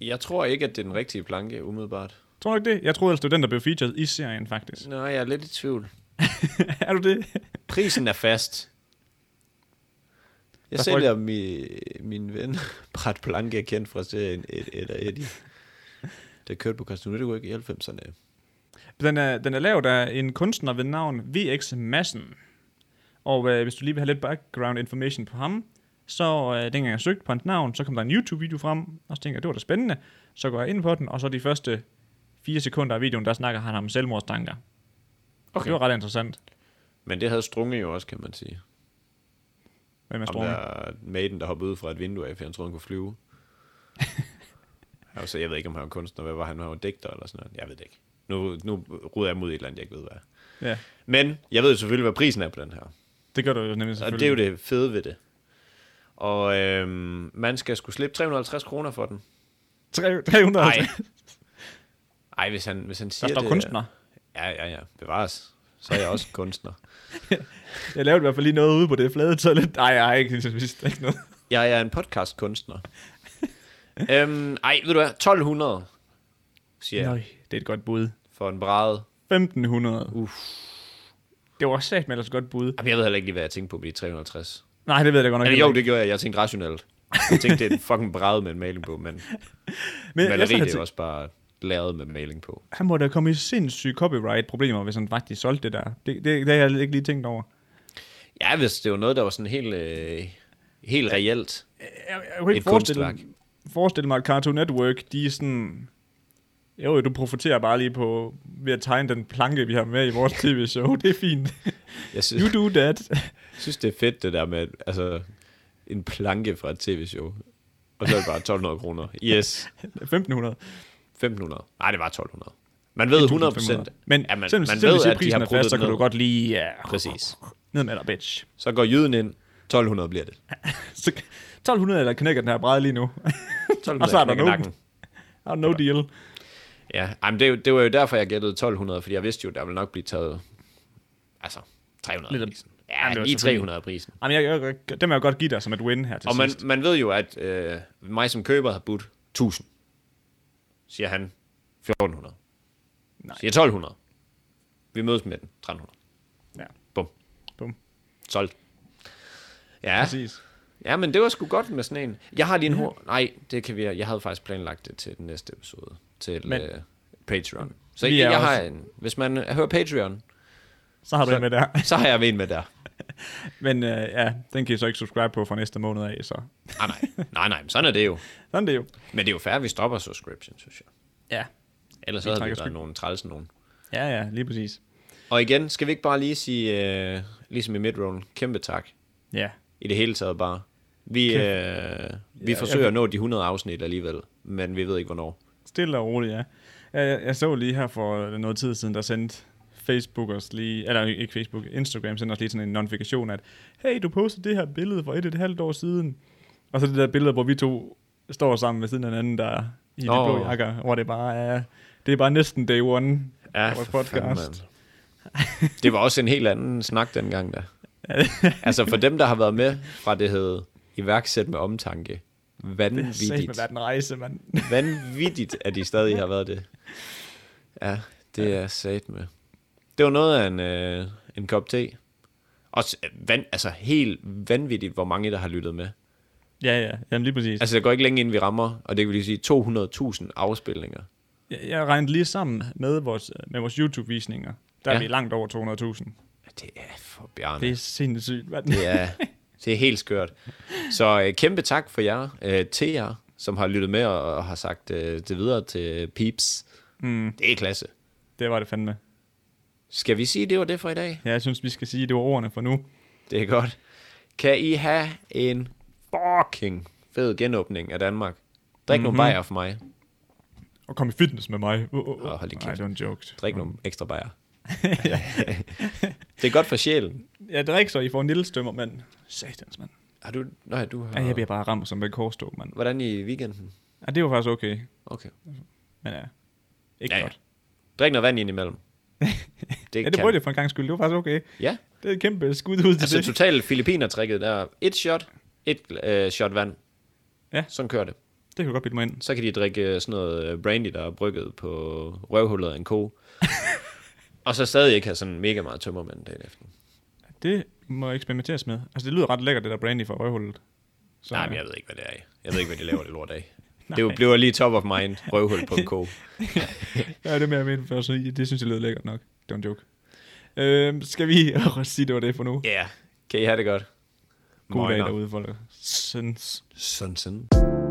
[SPEAKER 1] Jeg tror ikke, at det er den rigtige planke, umiddelbart.
[SPEAKER 2] Tror du ikke det? Jeg troede altså, det var den, der blev featured i serien, faktisk.
[SPEAKER 1] Nå, jeg er lidt i tvivl.
[SPEAKER 2] er du det?
[SPEAKER 1] Prisen er fast. Jeg
[SPEAKER 2] Der får
[SPEAKER 1] sælger mi, min ven Brat Planke, kendt fra serien et, eller Eddie. Der kørte på Cartoon Network i 90'erne.
[SPEAKER 2] Den er, den er lavet af en kunstner ved navn VX Madsen. Og øh, hvis du lige vil have lidt background information på ham, så øh, dengang jeg søgte på hans navn, så kom der en YouTube-video frem, og så tænkte jeg, det var da spændende. Så går jeg ind på den, og så de første fire sekunder af videoen, der snakker han om selvmordstanker. Okay. Det var ret interessant.
[SPEAKER 1] Men det havde Strunge jo også, kan man sige.
[SPEAKER 2] Hvem er
[SPEAKER 1] Ham
[SPEAKER 2] Strunge?
[SPEAKER 1] der maiden, der hoppede ud fra et vindue af, for han troede, han kunne flyve. altså, jeg ved ikke, om han var kunstner. Hvad var han? Han var digter eller sådan noget. Jeg ved det ikke. Nu, nu ruder jeg mod et eller andet, jeg ikke ved, hvad er.
[SPEAKER 2] Ja,
[SPEAKER 1] Men jeg ved selvfølgelig, hvad prisen er på den her.
[SPEAKER 2] det gør du jo nemlig
[SPEAKER 1] Og
[SPEAKER 2] selvfølgelig.
[SPEAKER 1] det er jo det fede ved det. Og øhm, man skal skulle slippe 350 kroner for den.
[SPEAKER 2] Tre- 300.
[SPEAKER 1] Nej.
[SPEAKER 2] Der
[SPEAKER 1] Ej, hvis han, hvis han siger
[SPEAKER 2] står
[SPEAKER 1] det...
[SPEAKER 2] kunstner.
[SPEAKER 1] Ja, ja, ja. Bevares. Så er jeg også kunstner.
[SPEAKER 2] Jeg lavede i hvert fald lige noget ude på det flade toilet. Nej, jeg har ikke, jeg vidste ikke noget.
[SPEAKER 1] Jeg er en podcastkunstner. øhm, ej, ved du hvad? 1200, siger jeg,
[SPEAKER 2] Nøj, det er et godt bud.
[SPEAKER 1] for en brade.
[SPEAKER 2] 1500.
[SPEAKER 1] Uff.
[SPEAKER 2] Det var sat med ellers et godt bud.
[SPEAKER 1] Jamen, jeg ved heller ikke lige, hvad jeg tænkte på med de 350.
[SPEAKER 2] Nej, det ved jeg godt nok.
[SPEAKER 1] Eller
[SPEAKER 2] heller
[SPEAKER 1] jo,
[SPEAKER 2] ikke.
[SPEAKER 1] det gjorde jeg. Jeg tænkte rationelt. Jeg tænkte, det er en fucking brad med en maling på, men, men
[SPEAKER 2] jeg
[SPEAKER 1] maleri,
[SPEAKER 2] sad og
[SPEAKER 1] det er
[SPEAKER 2] tænkte-
[SPEAKER 1] jo også bare lavet med maling på.
[SPEAKER 2] han må da komme i sindssyge copyright-problemer, hvis han faktisk solgte det der. Det, det, det har jeg ikke lige tænkt over.
[SPEAKER 1] Ja, hvis det var noget, der var sådan helt, øh, helt reelt.
[SPEAKER 2] Jeg, jeg kunne ikke
[SPEAKER 1] Et
[SPEAKER 2] forestille,
[SPEAKER 1] kunstværk.
[SPEAKER 2] forestille mig, at Cartoon Network, de er sådan... Jo, jo, du profiterer bare lige på ved at tegne den planke, vi har med i vores tv-show. Det er fint.
[SPEAKER 1] Jeg synes,
[SPEAKER 2] You do that.
[SPEAKER 1] synes, det er fedt, det der med altså, en planke fra et tv-show. Og så er det bare 1200 kroner. Yes,
[SPEAKER 2] 1500.
[SPEAKER 1] 1500. Nej, det var 1200. Man ved 100 procent.
[SPEAKER 2] Men ja, man, selvom, man selvom ved, at prisen er fast, så kan du godt lige... Ja,
[SPEAKER 1] Præcis.
[SPEAKER 2] Ned med dig, bitch.
[SPEAKER 1] Så går jyden ind. 1200 bliver det.
[SPEAKER 2] Så, 1200 eller knækker den her bræd lige nu. Og
[SPEAKER 1] 1200
[SPEAKER 2] så er der
[SPEAKER 1] knækker
[SPEAKER 2] nogen.
[SPEAKER 1] nakken.
[SPEAKER 2] Og no deal.
[SPEAKER 1] Ja, Ej, men det, er jo- det var jo derfor, jeg gættede 1200, fordi jeg vidste jo, der ville nok blive taget altså 300
[SPEAKER 2] Lidt af-
[SPEAKER 1] Lidt prisen. Ja,
[SPEAKER 2] Jamen, det
[SPEAKER 1] ja
[SPEAKER 2] var
[SPEAKER 1] lige
[SPEAKER 2] selvfølgelig-
[SPEAKER 1] 300 prisen.
[SPEAKER 2] Jamen, jeg, jeg, jeg, dem vil jeg godt give dig som et win her til
[SPEAKER 1] Og man,
[SPEAKER 2] sidst.
[SPEAKER 1] man ved jo, at øh, mig som køber har budt 1000, siger han 1400.
[SPEAKER 2] Nej.
[SPEAKER 1] Nej. Siger 1200. Vi mødes med den, 1300.
[SPEAKER 2] Ja,
[SPEAKER 1] Bum,
[SPEAKER 2] bum.
[SPEAKER 1] solgt. Ja,
[SPEAKER 2] Præcis.
[SPEAKER 1] ja, men det var sgu godt med sådan en. Jeg har lige en hår. Nej, det kan vi. Jeg havde faktisk planlagt det til den næste episode. Til men,
[SPEAKER 2] Men-
[SPEAKER 1] øh, Patreon. Så
[SPEAKER 2] Vi
[SPEAKER 1] jeg,
[SPEAKER 2] er
[SPEAKER 1] jeg har
[SPEAKER 2] også-
[SPEAKER 1] en. Hvis man øh, hører Patreon,
[SPEAKER 2] Så har du den med der.
[SPEAKER 1] så har jeg en med der.
[SPEAKER 2] Men øh, ja, den kan I så ikke subscribe på fra næste måned af, så...
[SPEAKER 1] Ah, nej, nej, nej, men sådan er det jo.
[SPEAKER 2] Sådan er det jo.
[SPEAKER 1] Men det er jo fair, at vi stopper subscription, synes jeg.
[SPEAKER 2] Ja.
[SPEAKER 1] Ellers
[SPEAKER 2] Vi
[SPEAKER 1] havde vi
[SPEAKER 2] trækker
[SPEAKER 1] været
[SPEAKER 2] skyld.
[SPEAKER 1] nogen træls nogen.
[SPEAKER 2] Ja, ja, lige præcis.
[SPEAKER 1] Og igen, skal vi ikke bare lige sige, øh, ligesom i midrollen, kæmpe tak.
[SPEAKER 2] Ja.
[SPEAKER 1] I det hele taget bare. Vi, øh, vi
[SPEAKER 2] Ja,
[SPEAKER 1] ja, forsøger
[SPEAKER 2] jeg-
[SPEAKER 1] at nå de 100 afsnit alligevel, men vi ved ikke hvornår.
[SPEAKER 2] Stille og roligt, ja. Jeg, jeg, jeg så lige her for noget tid siden, der sendte Facebook os lige, eller ikke Facebook, Instagram sendte os lige sådan en notifikation, at hey, du postede det her billede for et og et halvt år siden. Og så det der billede, hvor vi to står sammen ved siden af hinanden, der i de
[SPEAKER 1] Nå.
[SPEAKER 2] blå jakker, hvor det bare er, det er bare næsten day one af vores
[SPEAKER 1] for fanden,
[SPEAKER 2] podcast.
[SPEAKER 1] mand. Det var også en helt anden snak dengang da. altså for dem, der har været med fra det hed iværksæt med omtanke.
[SPEAKER 2] det har sæt med
[SPEAKER 1] Vanvittigt.
[SPEAKER 2] været en rejse, mand.
[SPEAKER 1] Vanvittigt, at de stadig har været det. Ja, det er sat med. Det var noget af en, øh, en kop te. Og van, altså helt vanvittigt, hvor mange der har lyttet med.
[SPEAKER 2] ja, ja, jamen lige præcis.
[SPEAKER 1] Altså, der går ikke længe inden vi rammer, og det kan vi lige sige 200.000 afspilninger.
[SPEAKER 2] Jeg, jeg regnede lige sammen med vores, med vores YouTube-visninger. Der ja. er
[SPEAKER 1] Ja.
[SPEAKER 2] vi langt over 200.000.
[SPEAKER 1] Det er for Bjarne.
[SPEAKER 2] Det er sindssygt, mand.
[SPEAKER 1] Det er, det er helt skørt. Så øh, kæmpe tak for jer, øh, til jer, som har lyttet med og, og har sagt øh, det videre til Peeps. Mm. Det er klasse.
[SPEAKER 2] Det var det fandme.
[SPEAKER 1] Skal vi sige, det var det for i dag?
[SPEAKER 2] Ja, jeg synes, vi skal sige, det var ordene for nu.
[SPEAKER 1] Det er godt. Kan I have en fucking fed genåbning af Danmark? Drik mm-hmm.
[SPEAKER 2] Mhm.
[SPEAKER 1] nogle bajer for mig.
[SPEAKER 2] Og kom i fitness med mig. Uh, uh, uh.
[SPEAKER 1] Åh, hold lige
[SPEAKER 2] Nej,
[SPEAKER 1] kæft.
[SPEAKER 2] det var en joke.
[SPEAKER 1] Drik nogle
[SPEAKER 2] Mm.
[SPEAKER 1] ekstra bajer. det er godt for sjælen.
[SPEAKER 2] Ja, drik så, I får en lille stømmer, mand. Satans, mand.
[SPEAKER 1] Har du... Nej, du har...
[SPEAKER 2] Ja, jeg bliver bare ramt som en korstog, mand.
[SPEAKER 1] Hvordan i weekenden?
[SPEAKER 2] Ja, det var faktisk okay.
[SPEAKER 1] Okay.
[SPEAKER 2] Men ja, ikke
[SPEAKER 1] Ja,
[SPEAKER 2] ja,
[SPEAKER 1] ja.
[SPEAKER 2] godt.
[SPEAKER 1] Drik noget vand ind imellem. Det,
[SPEAKER 2] Ja, det brød jeg for en gang skyld. Det var faktisk okay.
[SPEAKER 1] Ja,
[SPEAKER 2] Det er et kæmpe skud ud til
[SPEAKER 1] altså
[SPEAKER 2] det.
[SPEAKER 1] totalt Filippiner-tricket der. Et shot, et øh, shot vand.
[SPEAKER 2] Ja.
[SPEAKER 1] Sådan kører det.
[SPEAKER 2] Det kan du godt bilde mig ind.
[SPEAKER 1] Så kan de drikke øh, sådan noget øh, brandy, der er brygget på røvhullet af en ko. og så stadig ikke have sådan mega meget tømmermænd dagen efter.
[SPEAKER 2] Det må eksperimenteres med. Altså, det lyder ret lækkert, det der brandy fra røvhullet. Så,
[SPEAKER 1] Nej, men jeg ved ikke, hvad det er. Jeg ved ikke, hvad de laver det lort af. Det jo- bliver lige top of mind, røvhul på en ko.
[SPEAKER 2] Ja, det er mere jeg mente før, så det synes jeg lyder lækkert nok. Det var en joke. Øhm, skal vi sige, det var det for nu?
[SPEAKER 1] Ja, yeah. kan I have det godt?
[SPEAKER 2] God dag
[SPEAKER 1] Møgner.
[SPEAKER 2] derude, folk. Sinds.
[SPEAKER 1] Sådan, sådan.